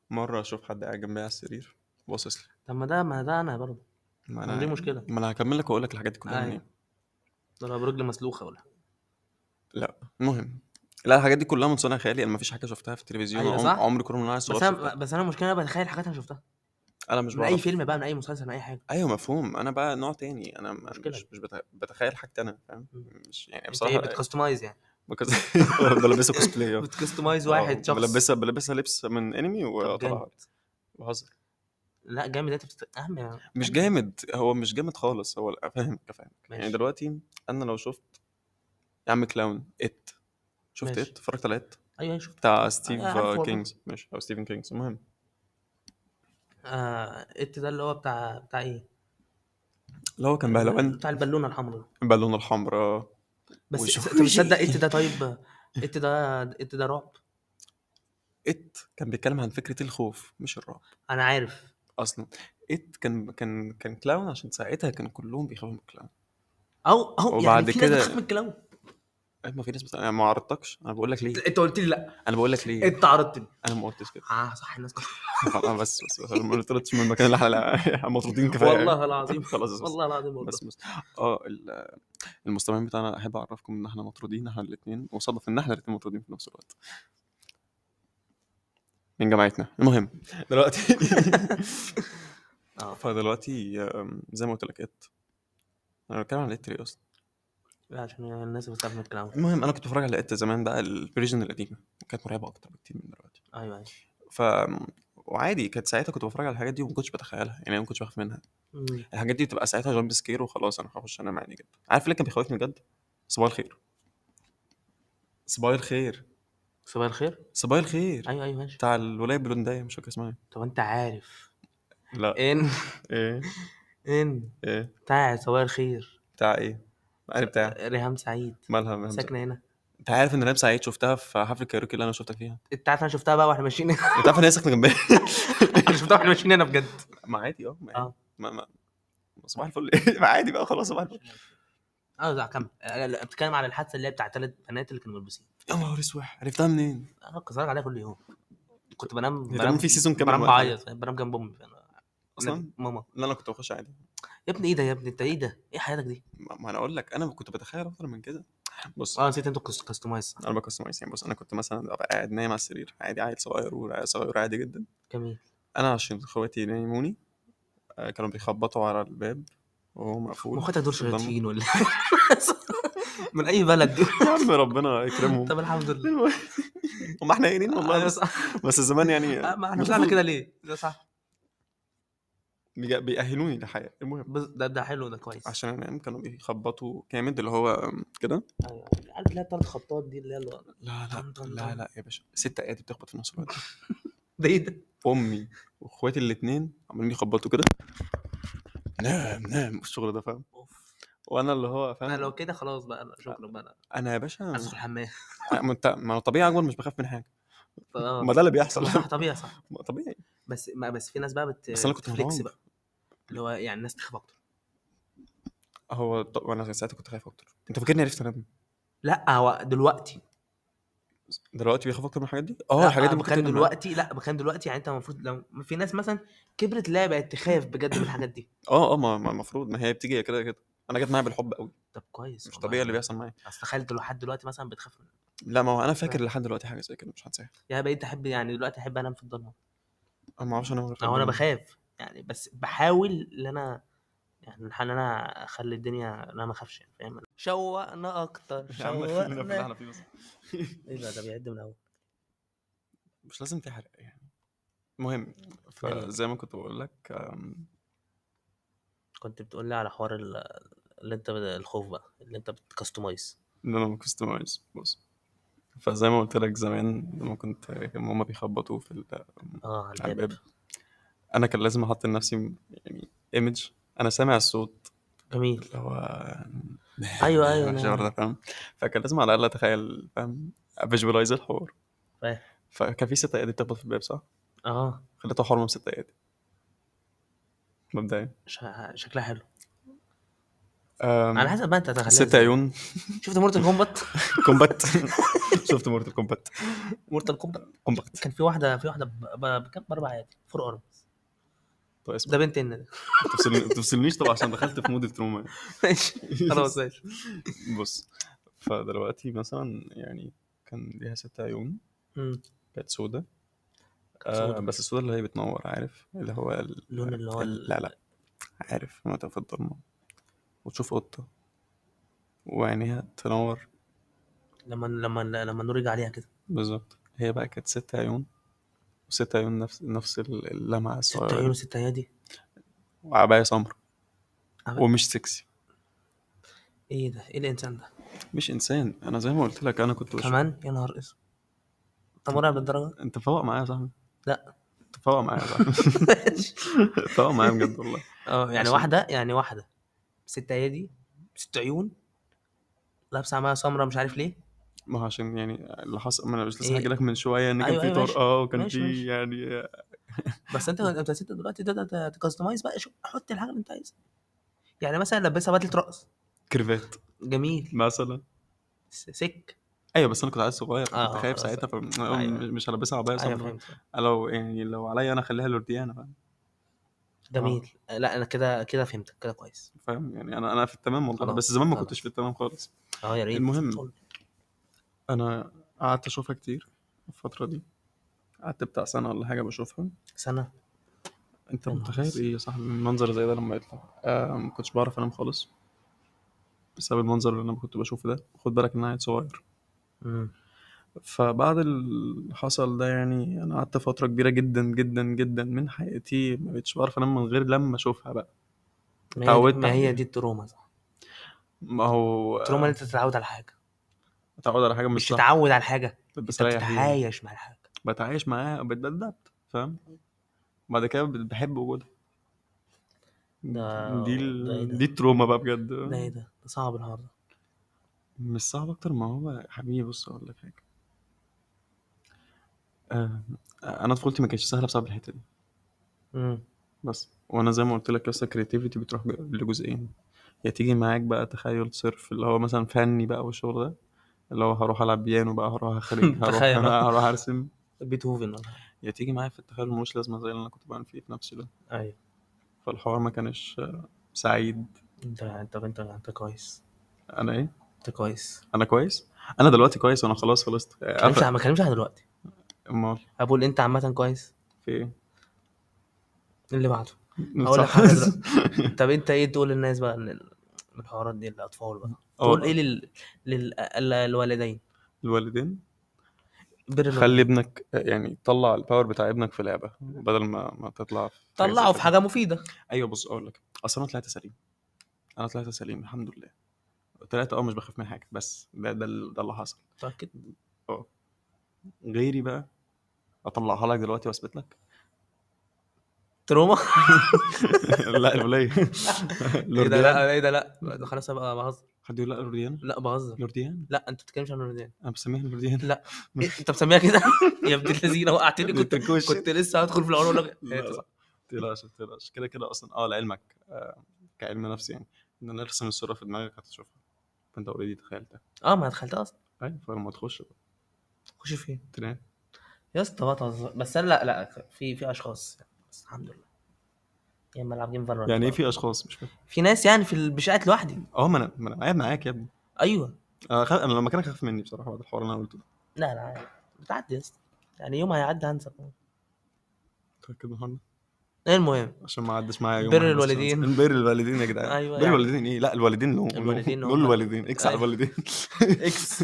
Speaker 1: مره اشوف حد قاعد جنبي على السرير باصص لي
Speaker 2: طب ما ده ما ده انا برضه
Speaker 1: ما
Speaker 2: دي مشكلة.
Speaker 1: ما انا هكمل لك واقول لك الحاجات دي كلها
Speaker 2: أيوة.
Speaker 1: منين
Speaker 2: ده برجل مسلوخه ولا
Speaker 1: لا المهم لا الحاجات دي كلها من صنع خيالي انا ما فيش حاجه شفتها في التلفزيون
Speaker 2: أيوة
Speaker 1: عم-
Speaker 2: صح.
Speaker 1: عمري كله من وانا
Speaker 2: بس
Speaker 1: صغير
Speaker 2: انا
Speaker 1: شفتها.
Speaker 2: بس انا المشكله انا بتخيل حاجات انا شفتها
Speaker 1: انا مش
Speaker 2: من اي
Speaker 1: بعرف
Speaker 2: فيلم بقى من اي مسلسل من اي حاجه
Speaker 1: ايوه مفهوم انا بقى نوع تاني انا م-
Speaker 2: مشكلة.
Speaker 1: مش مش بت- بتخيل حاجتي انا فاهم مش يعني
Speaker 2: انت ايه
Speaker 1: بصراحه
Speaker 2: بتكستمايز يعني
Speaker 1: بكز- بلبسها كوسبلاي آه.
Speaker 2: بتكستمايز واحد
Speaker 1: آه،
Speaker 2: شخص
Speaker 1: بلبسها بلبسها لبس من انمي
Speaker 2: طب
Speaker 1: وطلع
Speaker 2: جامد.
Speaker 1: بهزر
Speaker 2: لا جامد انت بتست... اهم
Speaker 1: مش جامد هو مش جامد خالص هو لا، فاهمك فاهمك يعني
Speaker 2: ماشي.
Speaker 1: دلوقتي انا لو شفت يا عم كلاون ات شفت
Speaker 2: ماشي.
Speaker 1: ات اتفرجت على ات
Speaker 2: ايوه شوف
Speaker 1: بتاع ستيف
Speaker 2: عارفه
Speaker 1: آه،
Speaker 2: والله.
Speaker 1: كينجز ماشي او ستيفن كينجز المهم
Speaker 2: آه... الت ده اللي هو بتاع بتاع ايه؟
Speaker 1: اللي هو كان بهلوان
Speaker 2: بتاع البالونه الحمراء
Speaker 1: بالون الحمراء
Speaker 2: بس
Speaker 1: وشوف.
Speaker 2: انت بتصدق الت ده طيب الت ده الت ده رعب
Speaker 1: ات كان بيتكلم عن فكره الخوف مش الرعب
Speaker 2: انا عارف
Speaker 1: اصلا ات كان كان كان كلاون عشان ساعتها كانوا كلهم بيخافوا من الكلاون
Speaker 2: او او
Speaker 1: وبعد
Speaker 2: يعني في
Speaker 1: كده-
Speaker 2: ناس بتخاف من الكلاون
Speaker 1: أيوة، ما في ناس بت... انا ما عرضتكش انا بقول لك ليه
Speaker 2: انت قلت لي لا
Speaker 1: انا بقول لك ليه
Speaker 2: انت عرضتني
Speaker 1: انا ما قلتش كده
Speaker 2: اه صح الناس
Speaker 1: خلاص بس بس بس، أنا ما قلتش من المكان اللي احنا مطرودين كفايه
Speaker 2: والله العظيم
Speaker 1: خلاص بس- بس.
Speaker 2: والله العظيم والله.
Speaker 1: بس بس اه ال- المستمعين بتاعنا احب اعرفكم ان احنا مطرودين احنا الاثنين وصدف ان احنا الاثنين مطرودين في نفس الوقت من جامعتنا المهم دلوقتي
Speaker 2: اه
Speaker 1: فدلوقتي آم، زي ما قلت لك ات انا بتكلم على ات ليه اصلا
Speaker 2: لا، عشان يعني الناس اللي بتخاف من الكلاون
Speaker 1: المهم انا كنت بتفرج على ات زمان بقى الفيرجن القديمه كانت مرعبه اكتر بكتير من دلوقتي
Speaker 2: ايوه ايوه
Speaker 1: ف وعادي كانت ساعتها كنت بتفرج على الحاجات دي وما كنتش بتخيلها يعني أنا ما كنتش بخاف منها
Speaker 2: مم.
Speaker 1: الحاجات دي بتبقى ساعتها جامب سكير وخلاص انا هخش انام عادي جدا عارف اللي كان بيخوفني بجد صباح الخير صباح الخير
Speaker 2: صباح الخير
Speaker 1: صباح الخير
Speaker 2: ايوه ايوه ماشي
Speaker 1: بتاع الولايه البلوندايه إيه؟ مش فاكر اسمها
Speaker 2: طب انت عارف
Speaker 1: لا
Speaker 2: ان
Speaker 1: ايه
Speaker 2: ان
Speaker 1: ايه
Speaker 2: بتاع صباح الخير
Speaker 1: بتاع ايه انا بتاع
Speaker 2: ريهام سعيد
Speaker 1: مالها مالها؟
Speaker 2: ساكنه هنا
Speaker 1: انت عارف ان ريم سعيد شفتها في حفله الكايروكي اللي انا شفتك فيها
Speaker 2: انت عارف انا شفتها بقى واحنا ماشيين هنا.
Speaker 1: انت عارف ان هي ساكنه جنبي
Speaker 2: انا شفتها واحنا ماشيين هنا بجد
Speaker 1: ما عادي اه ما عادي
Speaker 2: آه.
Speaker 1: ما ما ما صباح الفل ما عادي بقى خلاص صباح الفل
Speaker 2: اه لا كمل لا، لا، بتكلم على الحادثه اللي هي بتاع ثلاث بنات اللي كانوا ملبوسين
Speaker 1: يا نهار اسود عرفتها منين؟
Speaker 2: انا كنت بتفرج عليها كل يوم كنت بنام
Speaker 1: ده كان في سيزون كمان
Speaker 2: بنام
Speaker 1: واحد.
Speaker 2: بعيط بنام جنب امي فأنا-
Speaker 1: اصلا
Speaker 2: ماما
Speaker 1: لا انا كنت بخش عادي
Speaker 2: يا ابني ايه ده يا ابني انت ايه ده ايه حياتك دي
Speaker 1: ما ما انا اقول لك انا كنت بتخيل اكتر من كده بص
Speaker 2: اه نسيت انت كاستمايز صح
Speaker 1: انا بكستمايز يعني بص انا كنت مثلا ابقى قاعد نايم على السرير عادي عيل صغير وعيل صغير عادي جدا
Speaker 2: جميل
Speaker 1: انا عشان اخواتي نايموني آه، كانوا بيخبطوا على الباب وهو مقفول
Speaker 2: ما اخواتك دول
Speaker 1: في الضلمة.
Speaker 2: شياطين ولا إيه؟ من اي بلد دول
Speaker 1: يا عم ربنا يكرمهم
Speaker 2: طب الحمد لله
Speaker 1: المهم، هم احنا قايلين والله
Speaker 2: آه،
Speaker 1: بس,
Speaker 2: صح.
Speaker 1: بس زمان يعني
Speaker 2: آه، ما احنا طلعنا كده ليه؟ ده صح
Speaker 1: بيج- بيأهلوني للحياه المهم
Speaker 2: بس ده ده حلو ده كويس
Speaker 1: عشان انام كانوا بيخبطوا جامد اللي هو آم، كده
Speaker 2: ايوه عارف اللي هي الثلاث خطات دي اللي هي الو-
Speaker 1: لا
Speaker 2: طن-
Speaker 1: لا
Speaker 2: طن-
Speaker 1: لا
Speaker 2: طن.
Speaker 1: لا يا باشا ست ايادي بتخبط في نفس الوقت
Speaker 2: ده ايه ده؟
Speaker 1: امي واخواتي الاثنين عمالين يخبطوا كده نام نام الشغل ده فاهم
Speaker 2: اوف
Speaker 1: وانا اللي هو فاهم أه.
Speaker 2: انا لو كده خلاص بقى أنا شكرا بقى انا
Speaker 1: انا يا باشا
Speaker 2: ادخل الحمام
Speaker 1: ما انت ما هو طبيعي اكبر مش بخاف من حاجه
Speaker 2: آه.
Speaker 1: ما ده اللي بيحصل
Speaker 2: صح طبيعي صح
Speaker 1: ما طبيعي
Speaker 2: بس ما بس في ناس بقى بت
Speaker 1: بس أنا كنت
Speaker 2: بتفليكس
Speaker 1: مرعوب.
Speaker 2: بقى اللي هو يعني الناس تخاف اكتر
Speaker 1: هو ط- وانا ساعتها كنت خايف اكتر انت فاكرني عرفت انام
Speaker 2: لا هو دلوقتي
Speaker 1: دلوقتي بيخاف اكتر من الحاجات دي اه الحاجات دي ممكن
Speaker 2: كان
Speaker 1: تمنع.
Speaker 2: دلوقتي لا كان دلوقتي يعني انت المفروض لو في ناس مثلا كبرت لا بقت تخاف بجد من الحاجات دي
Speaker 1: اه اه ما ما المفروض ما هي بتيجي كده كده انا جت معايا بالحب قوي
Speaker 2: طب كويس
Speaker 1: مش
Speaker 2: والله.
Speaker 1: طبيعي اللي بيحصل معايا
Speaker 2: اصل تخيل دلو- لحد دلوقتي مثلا بتخاف من
Speaker 1: لا ما هو انا
Speaker 2: آه.
Speaker 1: فاكر لحد دلوقتي حاجه زي كده مش هنساها
Speaker 2: يعني بقيت احب يعني دلوقتي احب انام في الضلمه
Speaker 1: انا ما اعرفش انام غير في
Speaker 2: او انا
Speaker 1: الضلمة.
Speaker 2: بخاف يعني بس بحاول ان انا يعني ان انا اخلي الدنيا ان انا ما اخافش يعني فاهم شوقنا اكتر
Speaker 1: يا عم خلينا في اللي
Speaker 2: شوقنا
Speaker 1: احنا فيه بس
Speaker 2: ايه ده ده بيعد من الاول
Speaker 1: مش لازم تحرق يعني المهم فزي ما كنت بقول لك أم،
Speaker 2: كنت بتقول لي على حوار ال- اللي انت بت- الخوف بقى اللي انت بتكستمايز
Speaker 1: ان انا كستمايز بص فزي ما قلت لك زمان لما كنت لما هما بيخبطوا في ال-
Speaker 2: اه على
Speaker 1: على
Speaker 2: الباب
Speaker 1: الباب انا كان لازم احط لنفسي يعني ايمج انا سامع الصوت
Speaker 2: جميل
Speaker 1: اللي هو
Speaker 2: ايوه ايوه
Speaker 1: الشعور
Speaker 2: أنا-
Speaker 1: ده فاهم فكان لازم على الاقل اتخيل فاهم فيجواليز الحوار
Speaker 2: فاهم.
Speaker 1: فكان في ست ايادي بتخبط في الباب صح؟
Speaker 2: اه
Speaker 1: خليته حرمه بست ايادي مبدئيا
Speaker 2: شا- شكلها حلو
Speaker 1: أم،
Speaker 2: على حسب بقى انت هتخليها
Speaker 1: ست
Speaker 2: إزاي.
Speaker 1: عيون
Speaker 2: شفت مورتال كومبات
Speaker 1: كومباكت شفت مورتال كومباكت
Speaker 2: مورتال كومبات
Speaker 1: كومباكت
Speaker 2: كان في واحده في واحده ب- ب- بكام باربع عادي فور ارمز ده بنت ان ده
Speaker 1: ما تفصلني- ما تفصلنيش طبعا عشان دخلت في مود التروما
Speaker 2: ماشي خلاص ماشي
Speaker 1: بص فدلوقتي مثلا يعني كان ليها ست عيون
Speaker 2: مم.
Speaker 1: كانت سودة
Speaker 2: سودة.
Speaker 1: آه بس السودة اللي هي بتنور عارف اللي هو ال-
Speaker 2: اللون اللي هو
Speaker 1: ال-
Speaker 2: ال-
Speaker 1: لا لا عارف ما في الضلمة وتشوف قطة وعينيها تنور
Speaker 2: لما لما لما النور يجي عليها كده
Speaker 1: بالظبط هي بقى كانت ست عيون وست عيون نفس نفس اللمعة
Speaker 2: ست عيون
Speaker 1: الصغيرة
Speaker 2: وست ايادي
Speaker 1: وعباية سمرا
Speaker 2: عباية-
Speaker 1: ومش سكسي
Speaker 2: ايه ده ايه الانسان ده
Speaker 1: مش انسان انا زي ما قلت لك انا كنت بشوف
Speaker 2: كمان يا نهار اسود انت مرعب للدرجه
Speaker 1: انت فوق معايا يا صاحبي
Speaker 2: لا
Speaker 1: انت فوق معايا يا صاحبي فوق معايا بجد والله
Speaker 2: اه يعني
Speaker 1: عشان-
Speaker 2: واحده يعني واحده ست ايادي ست عيون لابسه عمايه سمراء مش عارف ليه
Speaker 1: ما هو عشان يعني اللي حصل ما انا مش لسه
Speaker 2: إيه؟
Speaker 1: حكي لك من شويه ان كان
Speaker 2: أيوة،
Speaker 1: في
Speaker 2: أيوة،
Speaker 1: طرقه وكان
Speaker 2: ماشي،
Speaker 1: في
Speaker 2: ماشي.
Speaker 1: يعني
Speaker 2: بس انت انت ست دلوقتي تقدر تكستمايز بقى شوف حط الحاجه اللي انت عايزها يعني مثلا لبسها بدله رقص
Speaker 1: كريفات
Speaker 2: جميل
Speaker 1: مثلا
Speaker 2: س- سك
Speaker 1: ايوه بس انا كنت عايز صغير
Speaker 2: آه،
Speaker 1: كنت خايف
Speaker 2: خلاص.
Speaker 1: ساعتها فم-
Speaker 2: أيوة.
Speaker 1: مش- مش هلبسها عبايه
Speaker 2: ايوه
Speaker 1: سمراء
Speaker 2: فهمت
Speaker 1: لو يعني لو عليا انا اخليها لورديانا فاهم آه.
Speaker 2: جميل لا انا كده كده فهمتك كده كويس
Speaker 1: فاهم يعني انا انا في التمام والله
Speaker 2: خلاص،
Speaker 1: بس زمان ما
Speaker 2: خلاص.
Speaker 1: كنتش في التمام خالص
Speaker 2: اه يا ريت
Speaker 1: المهم. انا قعدت اشوفها كتير الفتره دي قعدت بتاع سنه ولا حاجه بشوفها
Speaker 2: سنه
Speaker 1: انت
Speaker 2: يا نهار
Speaker 1: متخيل
Speaker 2: أسود.
Speaker 1: ايه يا صاحبي منظر زي ده لما يطلع آه ما كنتش بعرف انام خالص بسبب المنظر اللي انا كنت بشوفه ده خد بالك ان انا عيل صغير
Speaker 2: مم.
Speaker 1: فبعد اللي حصل ده يعني انا قعدت فتره كبيره جدا جدا جدا من حياتي ما بقتش بعرف انام من غير لما اشوفها بقى
Speaker 2: ما هي-
Speaker 1: اتعودت
Speaker 2: ما هي
Speaker 1: عليها. آه.
Speaker 2: دي التروما صح
Speaker 1: ما هو
Speaker 2: التروما اللي انت تتعود على حاجه
Speaker 1: اتعود على حاجه مش
Speaker 2: مش
Speaker 1: صح
Speaker 2: تتعود على حاجه
Speaker 1: بت-
Speaker 2: انت
Speaker 1: بستريح فيها
Speaker 2: بتتعايش مع الحاجه
Speaker 1: بتعايش معاها بتأدبت فاهم بعد كده بت- بحب وجودها
Speaker 2: ده-
Speaker 1: دي
Speaker 2: ده إيه
Speaker 1: ال...
Speaker 2: ده؟
Speaker 1: دي التروما بقى بجد
Speaker 2: ده ايه ده ده صعب الحوار ده
Speaker 1: مش صعب اكتر ما هو يا حبيبي بص اقول لك حاجه آه، انا طفولتي ما كانتش سهله بسبب الحته دي
Speaker 2: مم.
Speaker 1: بس وانا زي ما قلت لك لسه كريتيفيتي بتروح ب- لجزئين يا تيجي معاك بقى تخيل صرف اللي هو مثلا فني بقى والشغل ده اللي هو هروح العب بيانو بقى هروح اخرج هروح
Speaker 2: تخيل.
Speaker 1: انا هروح ارسم
Speaker 2: بيتهوفن ولا حاجة.
Speaker 1: يا تيجي معايا في التخيل ملوش لازمه زي اللي انا كنت بعمل فيه في نفسي ده
Speaker 2: ايوه
Speaker 1: فالحوار ما كانش آه، سعيد
Speaker 2: انت انت انت انت كويس
Speaker 1: انا ايه
Speaker 2: انت كويس
Speaker 1: انا كويس انا دلوقتي كويس وانا خلاص خلصت
Speaker 2: ما
Speaker 1: آه،
Speaker 2: تكلمش
Speaker 1: قفل.
Speaker 2: عن- ما تكلمش عن دلوقتي
Speaker 1: امال
Speaker 2: بقول انت عامه كويس إيه
Speaker 1: في ايه
Speaker 2: اللي بعده هقول لك
Speaker 1: صح.
Speaker 2: حاجه دلوقتي. طب انت ايه تقول للناس بقى من ال- من الحوارات دي للاطفال بقى تقول
Speaker 1: أه،
Speaker 2: ايه لل... لل... للوالدين
Speaker 1: الوالدين
Speaker 2: بر الوالدين.
Speaker 1: خلي ابنك يعني طلع الباور بتاع ابنك في لعبه بدل ما ما تطلع في حاجة زي
Speaker 2: طلعه في
Speaker 1: كده.
Speaker 2: حاجه مفيده
Speaker 1: ايوه بص اقول لك اصل انا طلعت سليم انا طلعت سليم الحمد لله طلعت اه مش بخاف من حاجه بس ده ده, ال- ده اللي حصل
Speaker 2: متاكد
Speaker 1: غيري بقى اطلعها لك دلوقتي واثبت لك
Speaker 2: تروما
Speaker 1: لا الولايه
Speaker 2: ايه إيه ده
Speaker 1: لورديان
Speaker 2: لا ايه ده لا ده خلاص ابقى بهزر
Speaker 1: حد يقول لا لورديان
Speaker 2: لا بهزر
Speaker 1: لورديان
Speaker 2: لا انت بتتكلمش عن الوالدين
Speaker 1: انا بسميها لورديان
Speaker 2: لا. إيه؟ انت مسميها كده يا ابن الذين وقعتني كنت
Speaker 1: الكوش.
Speaker 2: كنت لسه هدخل في العنق اقول لك
Speaker 1: لا،
Speaker 2: إيه،
Speaker 1: لا.
Speaker 2: صح.
Speaker 1: تقلقش ما تقلقش كده كده اصلا اه لعلمك آه، كعلم نفسي يعني ان انا ارسم الصوره في دماغك هتشوفها فانت اوريدي تخيلتها
Speaker 2: اه ما دخلتها اصلا
Speaker 1: ايوه فلما تخش بقى
Speaker 2: خش فين
Speaker 1: تنام
Speaker 2: يا اسطى بقى تهزر. بس انا لا لا في في اشخاص بس الحمد لله يا اما العب جيم فالورانت
Speaker 1: يعني ايه في اشخاص مش فاهم
Speaker 2: في ناس يعني في البشاعات لوحدي
Speaker 1: اه ما انا ما انا قاعد معاك يا ابني
Speaker 2: ايوه
Speaker 1: انا خ... انا لما كان خاف مني بصراحه بعد الحوار اللي انا قلته ده
Speaker 2: لا لا عادي. بتعدي يا اسطى يعني يوم هيعدي هنسى
Speaker 1: متاكد من الحوار ده
Speaker 2: إيه المهم
Speaker 1: عشان ما عدش معايا يوم
Speaker 2: بر
Speaker 1: واحد بس.
Speaker 2: الوالدين.
Speaker 1: بر الوالدين يا جدعان
Speaker 2: أيوة
Speaker 1: بر
Speaker 2: يعني.
Speaker 1: الوالدين ايه لا الوالدين لهم
Speaker 2: الوالدين
Speaker 1: لهم
Speaker 2: هم-
Speaker 1: الوالدين اكس على
Speaker 2: أيوة.
Speaker 1: الوالدين
Speaker 2: اكس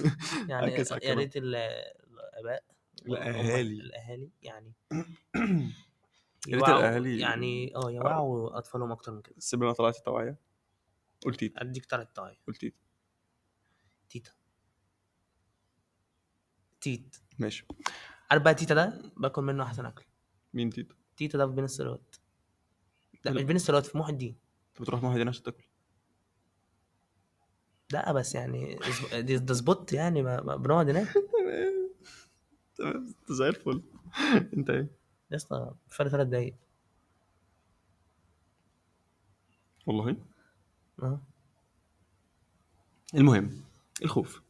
Speaker 2: يعني
Speaker 1: أعكس على
Speaker 2: يا
Speaker 1: الكلام.
Speaker 2: ريت ال- الاباء وال-
Speaker 1: الأهالي.
Speaker 2: الاهالي يعني
Speaker 1: يا ريت
Speaker 2: يوعوا-
Speaker 1: الأهالي-
Speaker 2: يعني اه يوعوا اطفالهم اكتر من كده
Speaker 1: سيبنا طلعت التوعيه قلت إيه؟
Speaker 2: اديك طلعت طاية
Speaker 1: قلت إيه؟
Speaker 2: تيتا تيت
Speaker 1: ماشي
Speaker 2: عارف بقى تيتا ده باكل منه احسن اكل
Speaker 1: مين تيتا
Speaker 2: تيتا ده في بين السراوات لا
Speaker 1: لا.
Speaker 2: مش بين السراوات في محي الدين
Speaker 1: انت بتروح مع هدينا عشان تاكل
Speaker 2: لا بس يعني اسب- دي- ده سبوت يعني ما- ما بنقعد هناك
Speaker 1: تمام انت زي الفل انت ايه
Speaker 2: يا اسطى فرق ثلاث دقايق
Speaker 1: والله
Speaker 2: اه
Speaker 1: المهم الخوف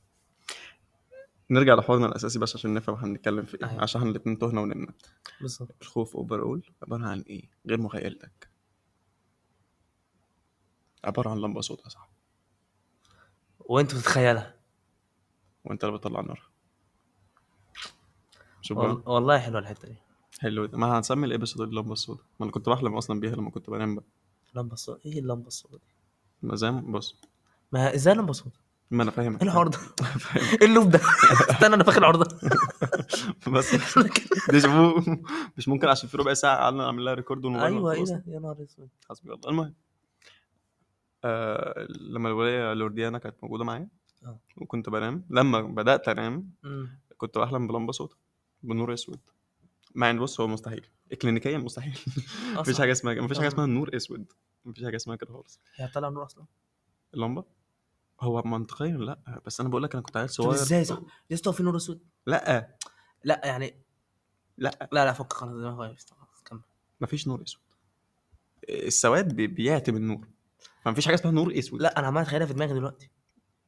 Speaker 1: نرجع لحوارنا الاساسي بس عشان نفهم احنا بنتكلم في ايه
Speaker 2: أيوة.
Speaker 1: عشان احنا الاتنين تهنا ونمنا
Speaker 2: بالظبط
Speaker 1: الخوف اوفر اول عباره عن ايه غير مخيلتك عباره عن لمبه سوداء صح
Speaker 2: وانت بتتخيلها
Speaker 1: وانت اللي بتطلع نار شوف بقى.
Speaker 2: وال- والله حلوه الحته دي
Speaker 1: حلو ده. ما هنسمي الابيسود اللمبه السوداء ما انا كنت بحلم اصلا بيها لما كنت بنام بقى
Speaker 2: لمبه الصوت ايه اللمبه الصوت دي
Speaker 1: ما زي ما بص
Speaker 2: ما ازاي لمبه صوت
Speaker 1: ما انا فاهم
Speaker 2: ايه الحوار ده ايه اللوب ده استنى انا فاكر الحوار ده
Speaker 1: بس ديجا فو مش ممكن عشان في ربع ساعه قعدنا نعمل لها ريكورد ونغير
Speaker 2: ايوه ايه
Speaker 1: خلاص.
Speaker 2: ده يا نهار اسود
Speaker 1: حسبي الله المهم آه لما الولايه لورديانا كانت موجوده معايا
Speaker 2: آه.
Speaker 1: وكنت بنام لما بدات انام
Speaker 2: أمم.
Speaker 1: كنت بحلم بلمبه سودا بنور اسود مع ان بص هو مستحيل اكلينيكيا مستحيل مفيش
Speaker 2: أصلاً.
Speaker 1: حاجه اسمها مفيش حاجه
Speaker 2: آه.
Speaker 1: اسمها نور اسود مفيش حاجه اسمها كده خالص
Speaker 2: هي طالعه نور اصلا
Speaker 1: اللمبه هو منطقيا لا بس انا بقول لك انا كنت عيل
Speaker 2: طب
Speaker 1: صغير
Speaker 2: ازاي صح يا اسطى في نور اسود
Speaker 1: لا
Speaker 2: لا يعني
Speaker 1: لا
Speaker 2: لا لا فك خلاص دماغي غيرت. خلاص كمل
Speaker 1: مفيش نور اسود السواد بي- بيعتم النور فمفيش حاجه اسمها نور اسود
Speaker 2: لا انا عمال اتخيلها في دماغي دلوقتي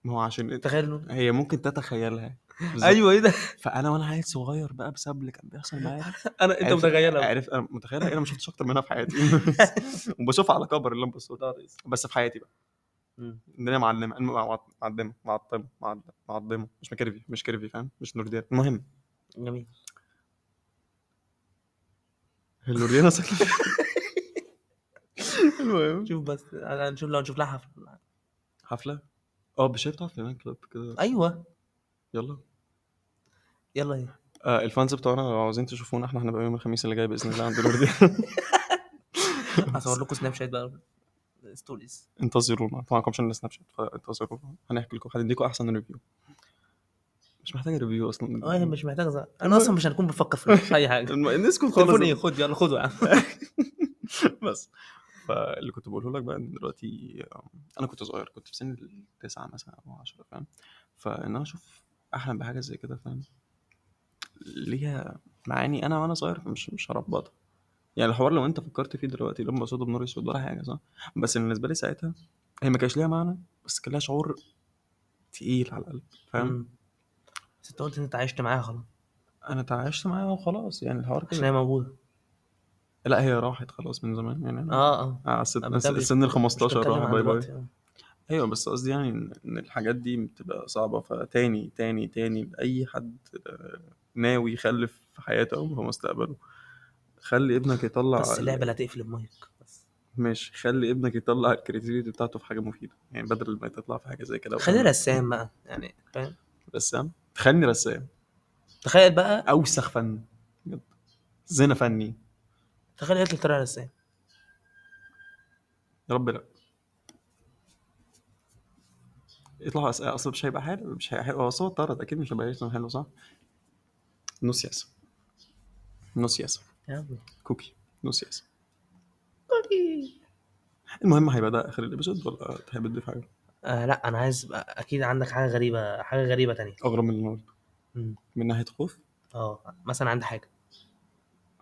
Speaker 1: ما هو عشان انت
Speaker 2: تخيل نور
Speaker 1: هي ممكن تتخيلها بالظبط.
Speaker 2: ايوه ايه ده
Speaker 1: فانا وانا عيل صغير بقى بسبب اللي كان بيحصل معايا
Speaker 2: انا انت
Speaker 1: عارف-
Speaker 2: متخيلها
Speaker 1: عارف انا متخيلها انا ما شفتش اكتر منها في حياتي وبشوفها على كبر اللمبه السوداء بس في حياتي بقى
Speaker 2: أمم.
Speaker 1: الدنيا معلمه الم- مع- معدمه معطمه معد- معضمه مش مكرفي مش كرفي فاهم مش نورديان المهم
Speaker 2: جميل
Speaker 1: النورديان ساكنه المهم
Speaker 2: شوف بس أنا- نشوف لو نشوف لها حفله
Speaker 1: حفله اه مش هي بتاعت فنان كلاب كده
Speaker 2: ايوه
Speaker 1: يلا
Speaker 2: يلا ايه
Speaker 1: آه الفانز بتوعنا لو عاوزين تشوفونا احنا هنبقى يوم الخميس اللي جاي باذن الله عند الوردي
Speaker 2: هصور لكم سناب شات بقى ستوريز
Speaker 1: انتظرونا طبعا كم عشان سناب شات فانتظرونا هنحكي لكم هنديكم احسن ريفيو مش محتاج ريفيو اصلا
Speaker 2: اه مش محتاج زع- انا اصلا مش هنكون بفكر في في اي حاجه
Speaker 1: الم- نسكت
Speaker 2: تليفون ايه
Speaker 1: خالص
Speaker 2: خد يلا خده يا عم
Speaker 1: بس فاللي كنت بقوله لك بقى ان دلوقتي آم، انا كنت صغير كنت في سن التسعه مثلا او 10 فاهم فان انا اشوف احلم بحاجه زي كده فاهم ليها معاني انا وانا صغير مش مش هربطها يعني الحوار لو انت فكرت فيه دلوقتي لما قصاده بنور اسود ولا حاجه صح بس بالنسبه لي ساعتها هي ما كانش ليها معنى بس كان ليها شعور تقيل على القلب فاهم
Speaker 2: مم. بس انت قلت ان انت عايشت معاها خلاص
Speaker 1: انا تعايشت معاها وخلاص يعني الحوار
Speaker 2: عشان
Speaker 1: كده
Speaker 2: هي موجوده
Speaker 1: لا هي راحت خلاص من زمان يعني أنا-
Speaker 2: اه اه
Speaker 1: على السن-
Speaker 2: أنا بتكلم-
Speaker 1: السن ال 15
Speaker 2: بتكلم
Speaker 1: راح
Speaker 2: عن
Speaker 1: باي باي
Speaker 2: دلوقتي، آه.
Speaker 1: ايوه بس قصدي يعني ان إن الحاجات دي بتبقى صعبه فتاني تاني تاني لاي حد آه، ناوي يخلف في حياته او في مستقبله خلي ابنك يطلع
Speaker 2: بس
Speaker 1: ال-
Speaker 2: اللعبه لا تقفل المايك بس
Speaker 1: ماشي خلي ابنك يطلع الكريتيفيتي بتاعته في حاجه مفيده يعني بدل ما تطلع في حاجه زي كده
Speaker 2: خليه رسام بقى يعني فاهم
Speaker 1: رسام تخلي رسام
Speaker 2: تخيل بقى
Speaker 1: اوسخ فن بجد زنا فني
Speaker 2: تخيل هتلر طلع رسام
Speaker 1: يا رب لا يطلعوا أس... اصلا مش هيبقى حلو مش هيبقى حلو هو صوت طرد اكيد مش هيبقى رسم حلو صح؟ نو سياسه نو سياسه
Speaker 2: يا عم.
Speaker 1: كوكي نو سياسه
Speaker 2: طيب.
Speaker 1: كوكي المهم هيبقى ده اخر الابيسود ولا تحب تضيف حاجه؟
Speaker 2: آه لا انا عايز بقى اكيد عندك حاجه غريبه حاجه غريبه تانية
Speaker 1: اغرب من اللي أنا قلته.
Speaker 2: مم.
Speaker 1: من ناحيه خوف
Speaker 2: اه مثلا عندي حاجه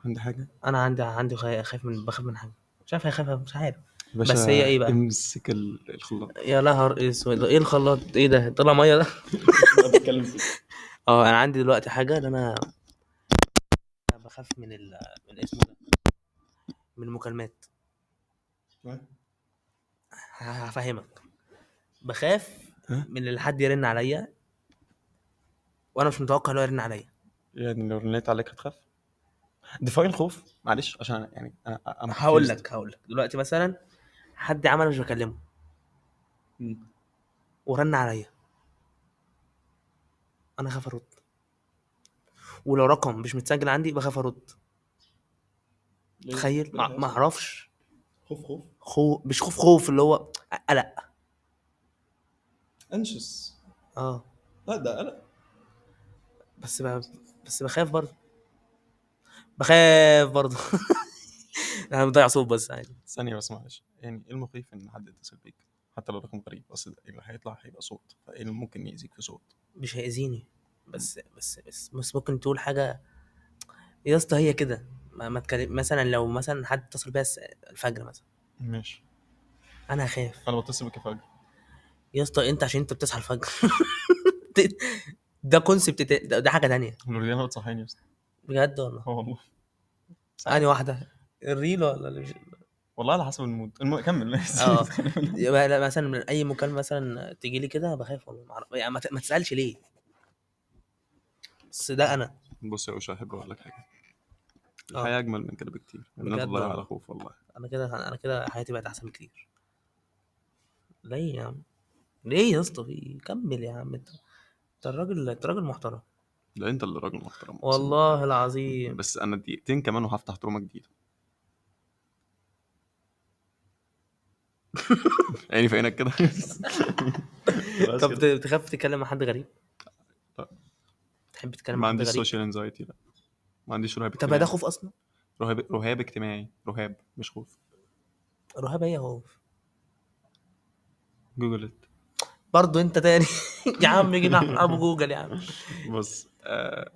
Speaker 1: عندي حاجه
Speaker 2: انا عندي عندي خا- خايف من بخاف من حاجه مش عارف هي خايفه مش عارف
Speaker 1: باشا،
Speaker 2: بس هي إيه بقى؟
Speaker 1: امسك ال- الخلاط
Speaker 2: يا نهار اسود ايه الخلاط ايه ده طلع ميه ده
Speaker 1: بتكلم فيه
Speaker 2: اه انا عندي دلوقتي حاجه ان انا أنا بخاف من ال... من اسمه ده من المكالمات
Speaker 1: ها؟
Speaker 2: ه- هفهمك بخاف
Speaker 1: ها؟
Speaker 2: من اللي حد يرن عليا وانا مش متوقع ان هو يرن عليا
Speaker 1: يعني لو رنيت عليك هتخاف ديفاين خوف معلش عشان أنا- يعني انا انا
Speaker 2: هقول
Speaker 1: confused.
Speaker 2: لك هقول لك دلوقتي مثلا حد عمل مش بكلمه
Speaker 1: مم.
Speaker 2: ورن عليا انا خاف ارد ولو رقم مش متسجل عندي بخاف ارد
Speaker 1: ليه؟
Speaker 2: تخيل ما- ما اعرفش
Speaker 1: خوف خوف
Speaker 2: خوف مش خوف خوف اللي هو قلق
Speaker 1: انشس
Speaker 2: اه
Speaker 1: لا ده انا
Speaker 2: بس ب... بس بخاف برضه بخاف برضه انا مضيع صوت بس يعني
Speaker 1: ثانيه بس معلش يعني ايه المخيف ان حد يتصل بيك حتى لو رقم غريب بس ده اللي هيطلع هيبقى صوت فايه اللي ممكن يأذيك في صوت
Speaker 2: مش هيأذيني بس بس بس, بس ممكن تقول حاجه يا اسطى هي كده ما, ما تكلم مثلا لو مثلا حد اتصل بيا الس- الفجر مثلا
Speaker 1: ماشي
Speaker 2: انا هخاف
Speaker 1: انا بتصل بك فجأة
Speaker 2: يا اسطى انت عشان انت بتصحى الفجر ده- ده كونسبت ده, ده حاجه تانية
Speaker 1: لوريانا بتصحيني يا اسطى
Speaker 2: بجد والله
Speaker 1: اه والله
Speaker 2: ثاني واحده الريل ولا اللي مش-
Speaker 1: والله على حسب المود المهم كمل ماشي
Speaker 2: اه يبقى لا، مثلا من اي مكالمه مثلا تيجي لي كده بخاف والله ما اعرف يعني ما ت- ما تسالش ليه بس ده انا
Speaker 1: بص يا اشا احب اقول لك حاجه
Speaker 2: آه.
Speaker 1: الحياه اجمل من كده بكتير ان
Speaker 2: بجد
Speaker 1: انت تضيع
Speaker 2: والله.
Speaker 1: على خوف والله
Speaker 2: انا كده انا كده حياتي بقت احسن بكتير ليه يا عم ليه يا اسطى في- كمل يا عم انت انت الراجل انت راجل محترم
Speaker 1: ده انت اللي راجل محترم أقسم
Speaker 2: والله
Speaker 1: بالله.
Speaker 2: العظيم
Speaker 1: بس انا دقيقتين كمان وهفتح تروما جديده عيني يعني في عينك كده خلاص
Speaker 2: طب
Speaker 1: كده.
Speaker 2: ت- تخاف تتكلم مع حد غريب
Speaker 1: لا.
Speaker 2: تحب تتكلم
Speaker 1: ما
Speaker 2: مع حد
Speaker 1: عنديش
Speaker 2: غريب
Speaker 1: سوشيال انزايتي لا ما عنديش رهاب
Speaker 2: طب ما ده
Speaker 1: اجتماعي.
Speaker 2: خوف اصلا
Speaker 1: رهاب رهاب اجتماعي رهاب مش خوف
Speaker 2: رهاب هي خوف
Speaker 1: جوجل ات
Speaker 2: برضه انت تاني يا عم جينا احنا ابو جوجل يا عم
Speaker 1: بص آه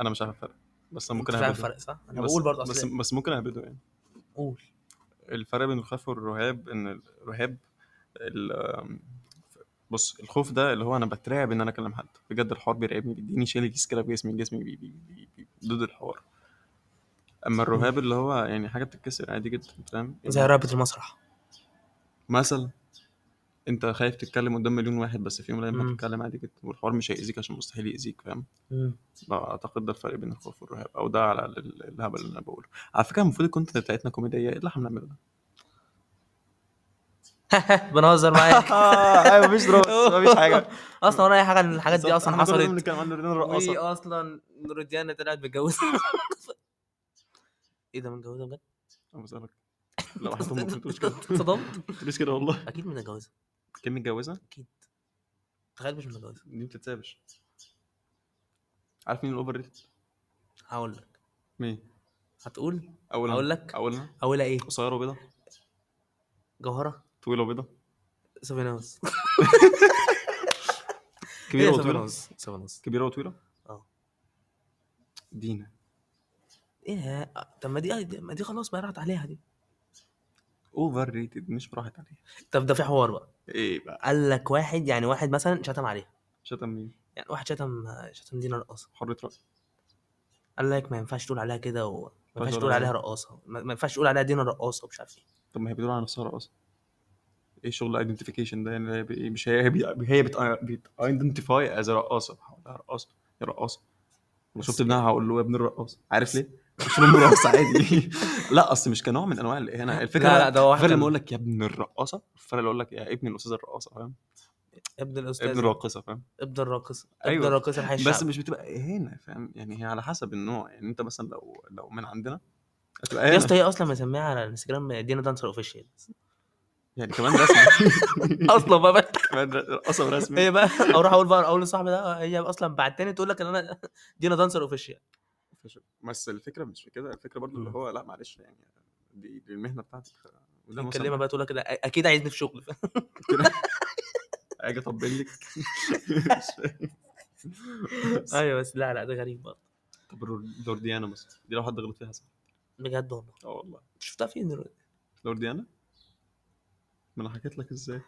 Speaker 1: انا مش عارف الفرق بس انا ممكن
Speaker 2: ممكن فاهم
Speaker 1: اهبده
Speaker 2: الفرق صح؟ انا
Speaker 1: بس-
Speaker 2: بقول برضه إيه؟
Speaker 1: بس
Speaker 2: اصل
Speaker 1: بس ممكن اهبده يعني
Speaker 2: قول
Speaker 1: الفرق بين الخوف والرهاب ان الرهاب ال- بص الخوف ده اللي هو انا بترعب ان انا اكلم حد بجد الحوار بيرعبني بيديني شيلجيز كده في جسمي جسمي بي بي بي بي ضد الحوار اما الرهاب اللي هو يعني حاجه بتتكسر عادي جدا فاهم
Speaker 2: زي
Speaker 1: يعني
Speaker 2: رابط المسرح
Speaker 1: مثلا انت خايف تتكلم قدام مليون واحد بس في يوم من الايام
Speaker 2: مم.
Speaker 1: هتتكلم عادي جدا والحوار مش هيأذيك عشان مستحيل يأذيك فاهم
Speaker 2: مم.
Speaker 1: اعتقد ده الفرق بين الخوف والرهاب او ده على ال- ال- الهبل اللي انا بقوله على فكره المفروض الكونتنت بتاعتنا كوميديه ايه اللي احنا بنعمله ده
Speaker 2: بنهزر معاك
Speaker 1: ايوه مفيش دروس مفيش حاجه
Speaker 2: اصلا ولا اي حاجه من الحاجات دي
Speaker 1: بالظبط،
Speaker 2: اصلا
Speaker 1: احنا كل ده
Speaker 2: حصلت
Speaker 1: بنتكلم عن نورين
Speaker 2: وي
Speaker 1: الرقاصه
Speaker 2: اصلا نور الديانه طلعت متجوزه ايه ده متجوزه بجد؟
Speaker 1: انا بسالك لو حد ما قلتلوش كده
Speaker 2: اتصدمت
Speaker 1: ما قلتليش كده والله
Speaker 2: اكيد متجوزه
Speaker 1: كان متجوزه
Speaker 2: اكيد تخيل مش متجوزه
Speaker 1: دي ما بتتسابش عارف مين الاوفر ريتد؟
Speaker 2: هقول لك
Speaker 1: مين؟
Speaker 2: هتقول
Speaker 1: اولها
Speaker 2: هقول لك.
Speaker 1: اولها
Speaker 2: اولها ايه؟
Speaker 1: قصيره وبيضه
Speaker 2: جوهره
Speaker 1: طويله وبيضه
Speaker 2: إيه سفن هاوس
Speaker 1: كبيره
Speaker 2: سفن
Speaker 1: وطويله
Speaker 2: هاوس سفن هاوس
Speaker 1: كبيره وطويله؟
Speaker 2: اه.
Speaker 1: دينا
Speaker 2: ايه طب ما دي ما دي خلاص بقى راحت عليها دي
Speaker 1: اوفر ريتد مش راحت عليها
Speaker 2: طب ده في حوار إيه بقى
Speaker 1: ايه بقى
Speaker 2: قال لك واحد يعني واحد مثلا شتم عليها
Speaker 1: شتم مين؟
Speaker 2: يعني واحد شتم شتم دينا رقاصه
Speaker 1: حرة رأي
Speaker 2: قال لك ما ينفعش تقول عليها كده وما ينفعش
Speaker 1: تقول
Speaker 2: تقول
Speaker 1: عليها.
Speaker 2: عليها رقاصه ما ما ينفعش تقول عليها دينا رقاصه ومش عارف ايه
Speaker 1: طب ما هي بتقول على نفسها رقاصه ايه شغل ايدنتيفيكيشن ده يعني هي بي- مش هي هي بي- هي بتايدنتيفاي از رقاصه هقولها رقاصه يا رقاصه لو شفت ابنها هقول له يا ابن الرقاصه عارف ليه؟ مش ابن الرقاصه عادي لا اصل مش كنوع من انواع الاهانه الفكره
Speaker 2: لا لا ده واحد
Speaker 1: الفرق لما
Speaker 2: كان-
Speaker 1: اقول لك يا ابن الرقاصه الفرق اللي اقول لك يا ابن الاستاذ الرقاصه فاهم؟
Speaker 2: ابن الاستاذ
Speaker 1: ابن الراقصه فاهم؟
Speaker 2: ابن الراقص ابن
Speaker 1: أيوة.
Speaker 2: الراقص الحي
Speaker 1: بس
Speaker 2: الشعبي.
Speaker 1: مش بتبقى اهانه فاهم؟ يعني هي على حسب النوع يعني انت مثلا لو لو من عندنا هتبقى
Speaker 2: يا
Speaker 1: اهانه
Speaker 2: اسطى هي اصلا مسميها على الانستجرام دينا دانسر اوفيشال
Speaker 1: يعني كمان رسمي
Speaker 2: اصلا بقى- بقى
Speaker 1: كمان رقاصه ورسمي
Speaker 2: هي بقى اروح اقول بقى اقول لصاحبي ده هي اصلا بعتني تقول لك ان انا دينا دانسر اوفيشال
Speaker 1: فش- بس الفكره مش في كده الفكره برضو اللي
Speaker 2: مم.
Speaker 1: هو لا معلش يعني دي, دي المهنه بتاعتك ف- وده مثلا
Speaker 2: يكلمها بقى تقول لك ده اكيد عايزني في شغل
Speaker 1: اجي اطبل لك
Speaker 2: ايوه بس لا لا ده غريب برضه
Speaker 1: طب الرو- دورديانا مثلا دي لو حد غلط فيها صح
Speaker 2: بجد والله
Speaker 1: اه والله
Speaker 2: شفتها فين دلوقتي
Speaker 1: دورديانا ما انا حكيت لك ازاي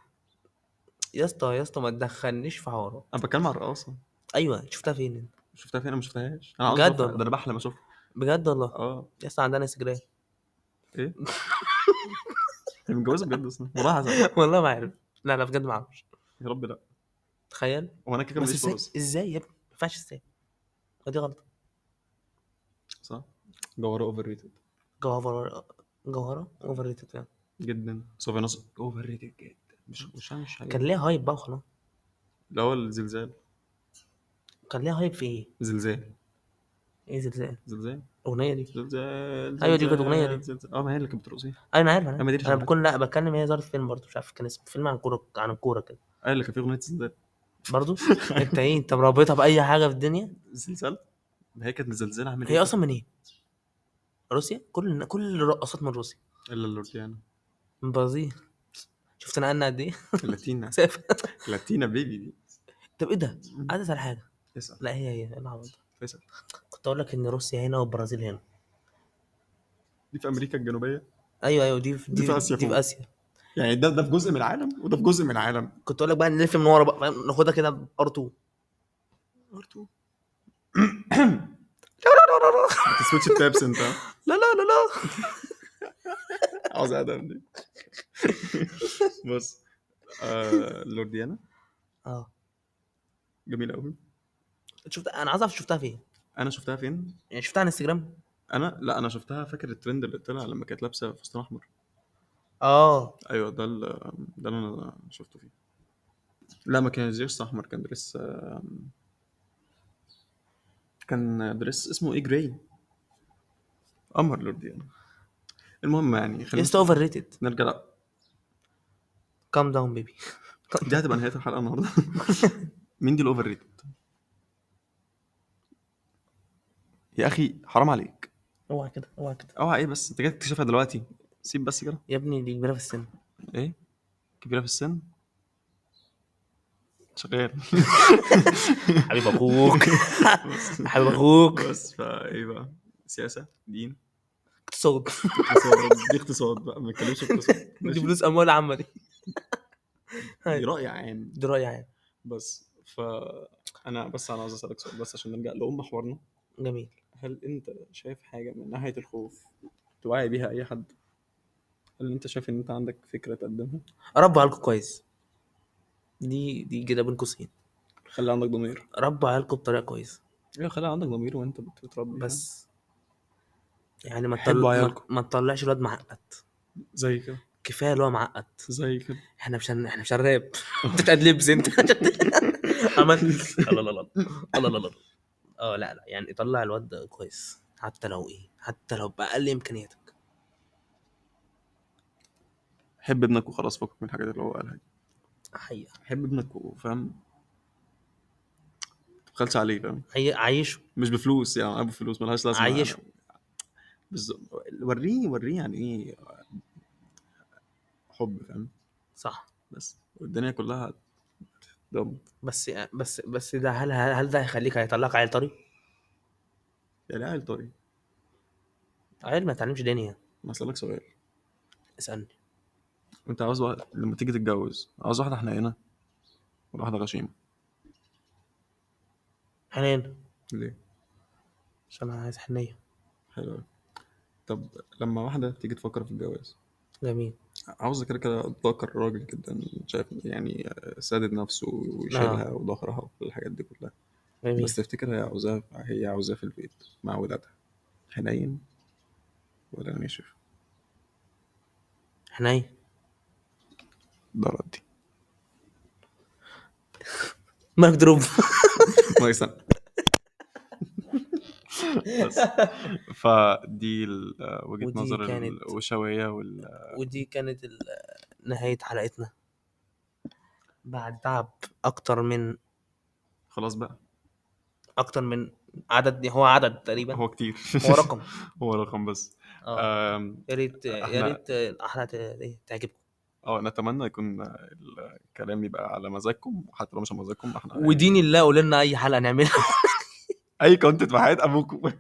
Speaker 2: يا اسطى يا اسطى ما تدخلنيش في حوارات
Speaker 1: انا بتكلم عن الرقاصه
Speaker 2: ايوه شفتها فين انت؟
Speaker 1: شفتها فين انا ما شفتهاش انا عاوز
Speaker 2: بجد
Speaker 1: أشوفها.
Speaker 2: والله.
Speaker 1: ده انا بحلم اشوفها
Speaker 2: بجد والله
Speaker 1: اه
Speaker 2: يا اسطى عندنا انستجرام
Speaker 1: ايه هي متجوزه بجد اصلا والله عسل
Speaker 2: والله ما عارف لا لا بجد ما اعرفش
Speaker 1: يا رب لا
Speaker 2: تخيل
Speaker 1: هو انا كده كده
Speaker 2: بس
Speaker 1: ماليش
Speaker 2: ازاي
Speaker 1: فرص
Speaker 2: ازاي يا ابني ما ينفعش ازاي ما دي غلط
Speaker 1: صح جوهره اوفر ريتد
Speaker 2: جوهره جوهره اوفر ريتد فعلا
Speaker 1: جدا سوفينوس اوفر ريتد جدا مش مش عامل حاجه
Speaker 2: كان ليها هايب بقى وخلاص
Speaker 1: اللي هو الزلزال
Speaker 2: كان ليها هايب في ايه؟
Speaker 1: زلزال
Speaker 2: ايه زلزال
Speaker 1: زلزال
Speaker 2: الاغنيه دي
Speaker 1: زلزال
Speaker 2: أيوة، دي كانت
Speaker 1: زلزال،
Speaker 2: أغنية دي.
Speaker 1: زلزال. اه ما هي اللي كانت بترقصيها
Speaker 2: ايوه انا عارف انا
Speaker 1: أما دي
Speaker 2: عارف.
Speaker 1: مش
Speaker 2: انا
Speaker 1: عارفها.
Speaker 2: بكون لا بتكلم هي ظهرت في فيلم برضه مش عارف كان اسمه فيلم عن كوره عن الكوره كده
Speaker 1: اه اللي كان فيه اغنيه زلزال
Speaker 2: برضه انت ايه انت مرابطها باي حاجه في الدنيا
Speaker 1: زلزال ما هي كانت إيه؟ زلزال عامل
Speaker 2: هي اصلا منين؟ روسيا كل كل الرقصات من روسيا
Speaker 1: الا اللورتيانا
Speaker 2: من البرازيل شفت انا قلنا قد ايه؟
Speaker 1: لاتينا
Speaker 2: مسافة.
Speaker 1: لاتينا بيبي دي
Speaker 2: طب ايه ده؟ عايز اسال حاجه
Speaker 1: اسال
Speaker 2: لا هي هي إيه العبط ده؟
Speaker 1: اسال
Speaker 2: كنت اقول لك ان روسيا هنا والبرازيل هنا
Speaker 1: دي في امريكا الجنوبيه
Speaker 2: ايوه ايوه دي في
Speaker 1: دي في آسيا
Speaker 2: دي
Speaker 1: فوق.
Speaker 2: في اسيا
Speaker 1: يعني ده ده في جزء من العالم وده في جزء من العالم
Speaker 2: كنت اقول لك بقى نلف من ورا بقى فاهم؟ ناخدها كده ار 2
Speaker 1: برضو بتسويتش التابس انت
Speaker 2: لا لا لا لا
Speaker 1: عاوز ادم دي بص آه لورديانا
Speaker 2: اه
Speaker 1: جميله قوي
Speaker 2: شفت انا عايز اعرف شفتها فين
Speaker 1: انا شفتها فين
Speaker 2: يعني شفتها على انستجرام
Speaker 1: انا لا انا شفتها فاكر الترند اللي طلع لما كانت لابسه فستان احمر
Speaker 2: اه
Speaker 1: ايوه ده ال- ده اللي انا شفته فيه لا ما كانش دريس احمر كان دريس آم، كان دريس اسمه ايه جراي قمر لورديانا المهم يعني خلينا
Speaker 2: يس اوفر ريتد
Speaker 1: نرجع لا،
Speaker 2: كام داون بيبي
Speaker 1: دي هتبقى نهايه الحلقه النهارده مين دي الاوفر ريتد يا اخي حرام عليك
Speaker 2: اوعى كده اوعى كده
Speaker 1: اوعى ايه بس انت جاي تكتشفها دلوقتي سيب بس كده
Speaker 2: يا ابني دي كبيره في السن
Speaker 1: ايه كبيره في السن شغال
Speaker 2: حبيب اخوك حبيب اخوك
Speaker 1: بس فايه بقى سياسه دين
Speaker 2: اقتصاد
Speaker 1: اقتصاد دي اقتصاد بقى ما نتكلمش في اقتصاد
Speaker 2: دي
Speaker 1: ماشي؟
Speaker 2: فلوس اموال عامه دي
Speaker 1: دي راي عام
Speaker 2: دي رايي يعني
Speaker 1: بس فانا بس انا عاوز اسالك سؤال بس عشان نرجع لام حوارنا
Speaker 2: جميل
Speaker 1: هل انت شايف حاجه من ناحيه الخوف توعي بيها اي حد هل انت شايف ان انت عندك فكره تقدمها
Speaker 2: ربوا عيالكم كويس دي دي كده بين قوسين
Speaker 1: خلي عندك ضمير
Speaker 2: ربوا عيالكم بطريقه كويسه
Speaker 1: ايوه خلي عندك ضمير وانت بت- بتربي
Speaker 2: بس يعني ما
Speaker 1: حبوا
Speaker 2: تطل... ما-
Speaker 1: عيالكم.
Speaker 2: ما تطلعش الواد معقد
Speaker 1: زي كده
Speaker 2: كفايه اللي هو معقد
Speaker 1: زي كده
Speaker 2: احنا مش هن... احنا مش هنراب انت بتقلبز انت عملت لا لا لا لا لا لا لا اه لا لا يعني طلع الواد ده كويس حتى لو ايه حتى لو باقل امكانياتك
Speaker 1: حب ابنك وخلاص فكك من الحاجات اللي هو قالها دي
Speaker 2: حقيقة
Speaker 1: حب ابنك وفاهم تبخلش عليه فاهم
Speaker 2: عي... عايشه
Speaker 1: مش بفلوس يعني ابو فلوس ملهاش لازمه
Speaker 2: عيشه.
Speaker 1: بالظبط وريه وريه يعني ايه حب فاهم
Speaker 2: صح
Speaker 1: بس والدنيا كلها دم
Speaker 2: بس بس بس ده هل هل, هل ده هيخليك هيطلعك عيل طري؟
Speaker 1: يعني عيل طري
Speaker 2: عيل ما يتعلمش دنيا
Speaker 1: انا اسالك سؤال
Speaker 2: اسالني
Speaker 1: انت عاوز واحد لما تيجي تتجوز عاوز واحده حنينه ولا واحده غشيمه
Speaker 2: حنين
Speaker 1: ليه
Speaker 2: عشان انا عايز حنيه
Speaker 1: حلو أوي. طب لما واحده تيجي تفكر في الجواز
Speaker 2: جميل
Speaker 1: عاوز كده كده اتذكر راجل جدا شايف يعني سادد نفسه ويشيلها وظهرها وكل الحاجات دي كلها
Speaker 2: آه. جميل
Speaker 1: بس تفتكر هي عاوزاها هي عاوزاه في البيت مع ولادها حنين ولا ناشف
Speaker 2: حنين
Speaker 1: ده ردي
Speaker 2: مالك دروب
Speaker 1: ما يستنى بس فدي ال- وجهة
Speaker 2: ودي
Speaker 1: نظر
Speaker 2: كانت-
Speaker 1: الوشوية وال
Speaker 2: ودي كانت ال- نهايه حلقتنا بعد تعب اكتر من
Speaker 1: خلاص بقى
Speaker 2: اكتر من عدد هو عدد تقريبا
Speaker 1: هو آه. كتير
Speaker 2: هو رقم
Speaker 1: هو رقم بس
Speaker 2: اه
Speaker 1: آم،
Speaker 2: يا ريت يا
Speaker 1: احنا-
Speaker 2: ريت الحلقه ت- إيه، تعجبكم
Speaker 1: اه نتمنى يكون الكلام يبقى على مزاجكم وحتى لو مش على مزاجكم احنا
Speaker 2: ودين الله قولوا لنا اي حلقه نعملها
Speaker 1: اي كونتنت في حياة ابوكم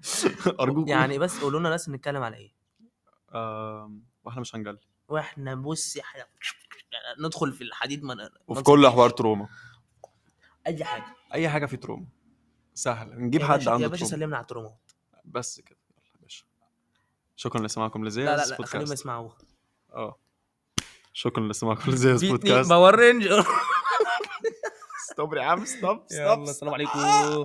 Speaker 1: ارجوكم
Speaker 2: يعني بس قولوا لنا بس نتكلم على ايه
Speaker 1: آم، واحنا مش هنجل
Speaker 2: واحنا بص إحنا ندخل في الحديد ما ن-
Speaker 1: وفي
Speaker 2: ما
Speaker 1: كل حوار تروما
Speaker 2: اي حاجه
Speaker 1: اي حاجه في تروما سهل نجيب
Speaker 2: يا
Speaker 1: حد
Speaker 2: باشا- يا
Speaker 1: عنده
Speaker 2: باشا
Speaker 1: تروما
Speaker 2: سلمنا على التروما
Speaker 1: بس كده يلا يا باشا شكرا لسماعكم لزياز
Speaker 2: لا لا لا خليهم
Speaker 1: بودكاست
Speaker 2: يسمعوها
Speaker 1: اه شكرا لسماعكم لزياز
Speaker 2: بيتني
Speaker 1: بودكاست
Speaker 2: باور رينجر
Speaker 1: ستوب يا عم ستوب ستوب
Speaker 2: يلا السلام عليكم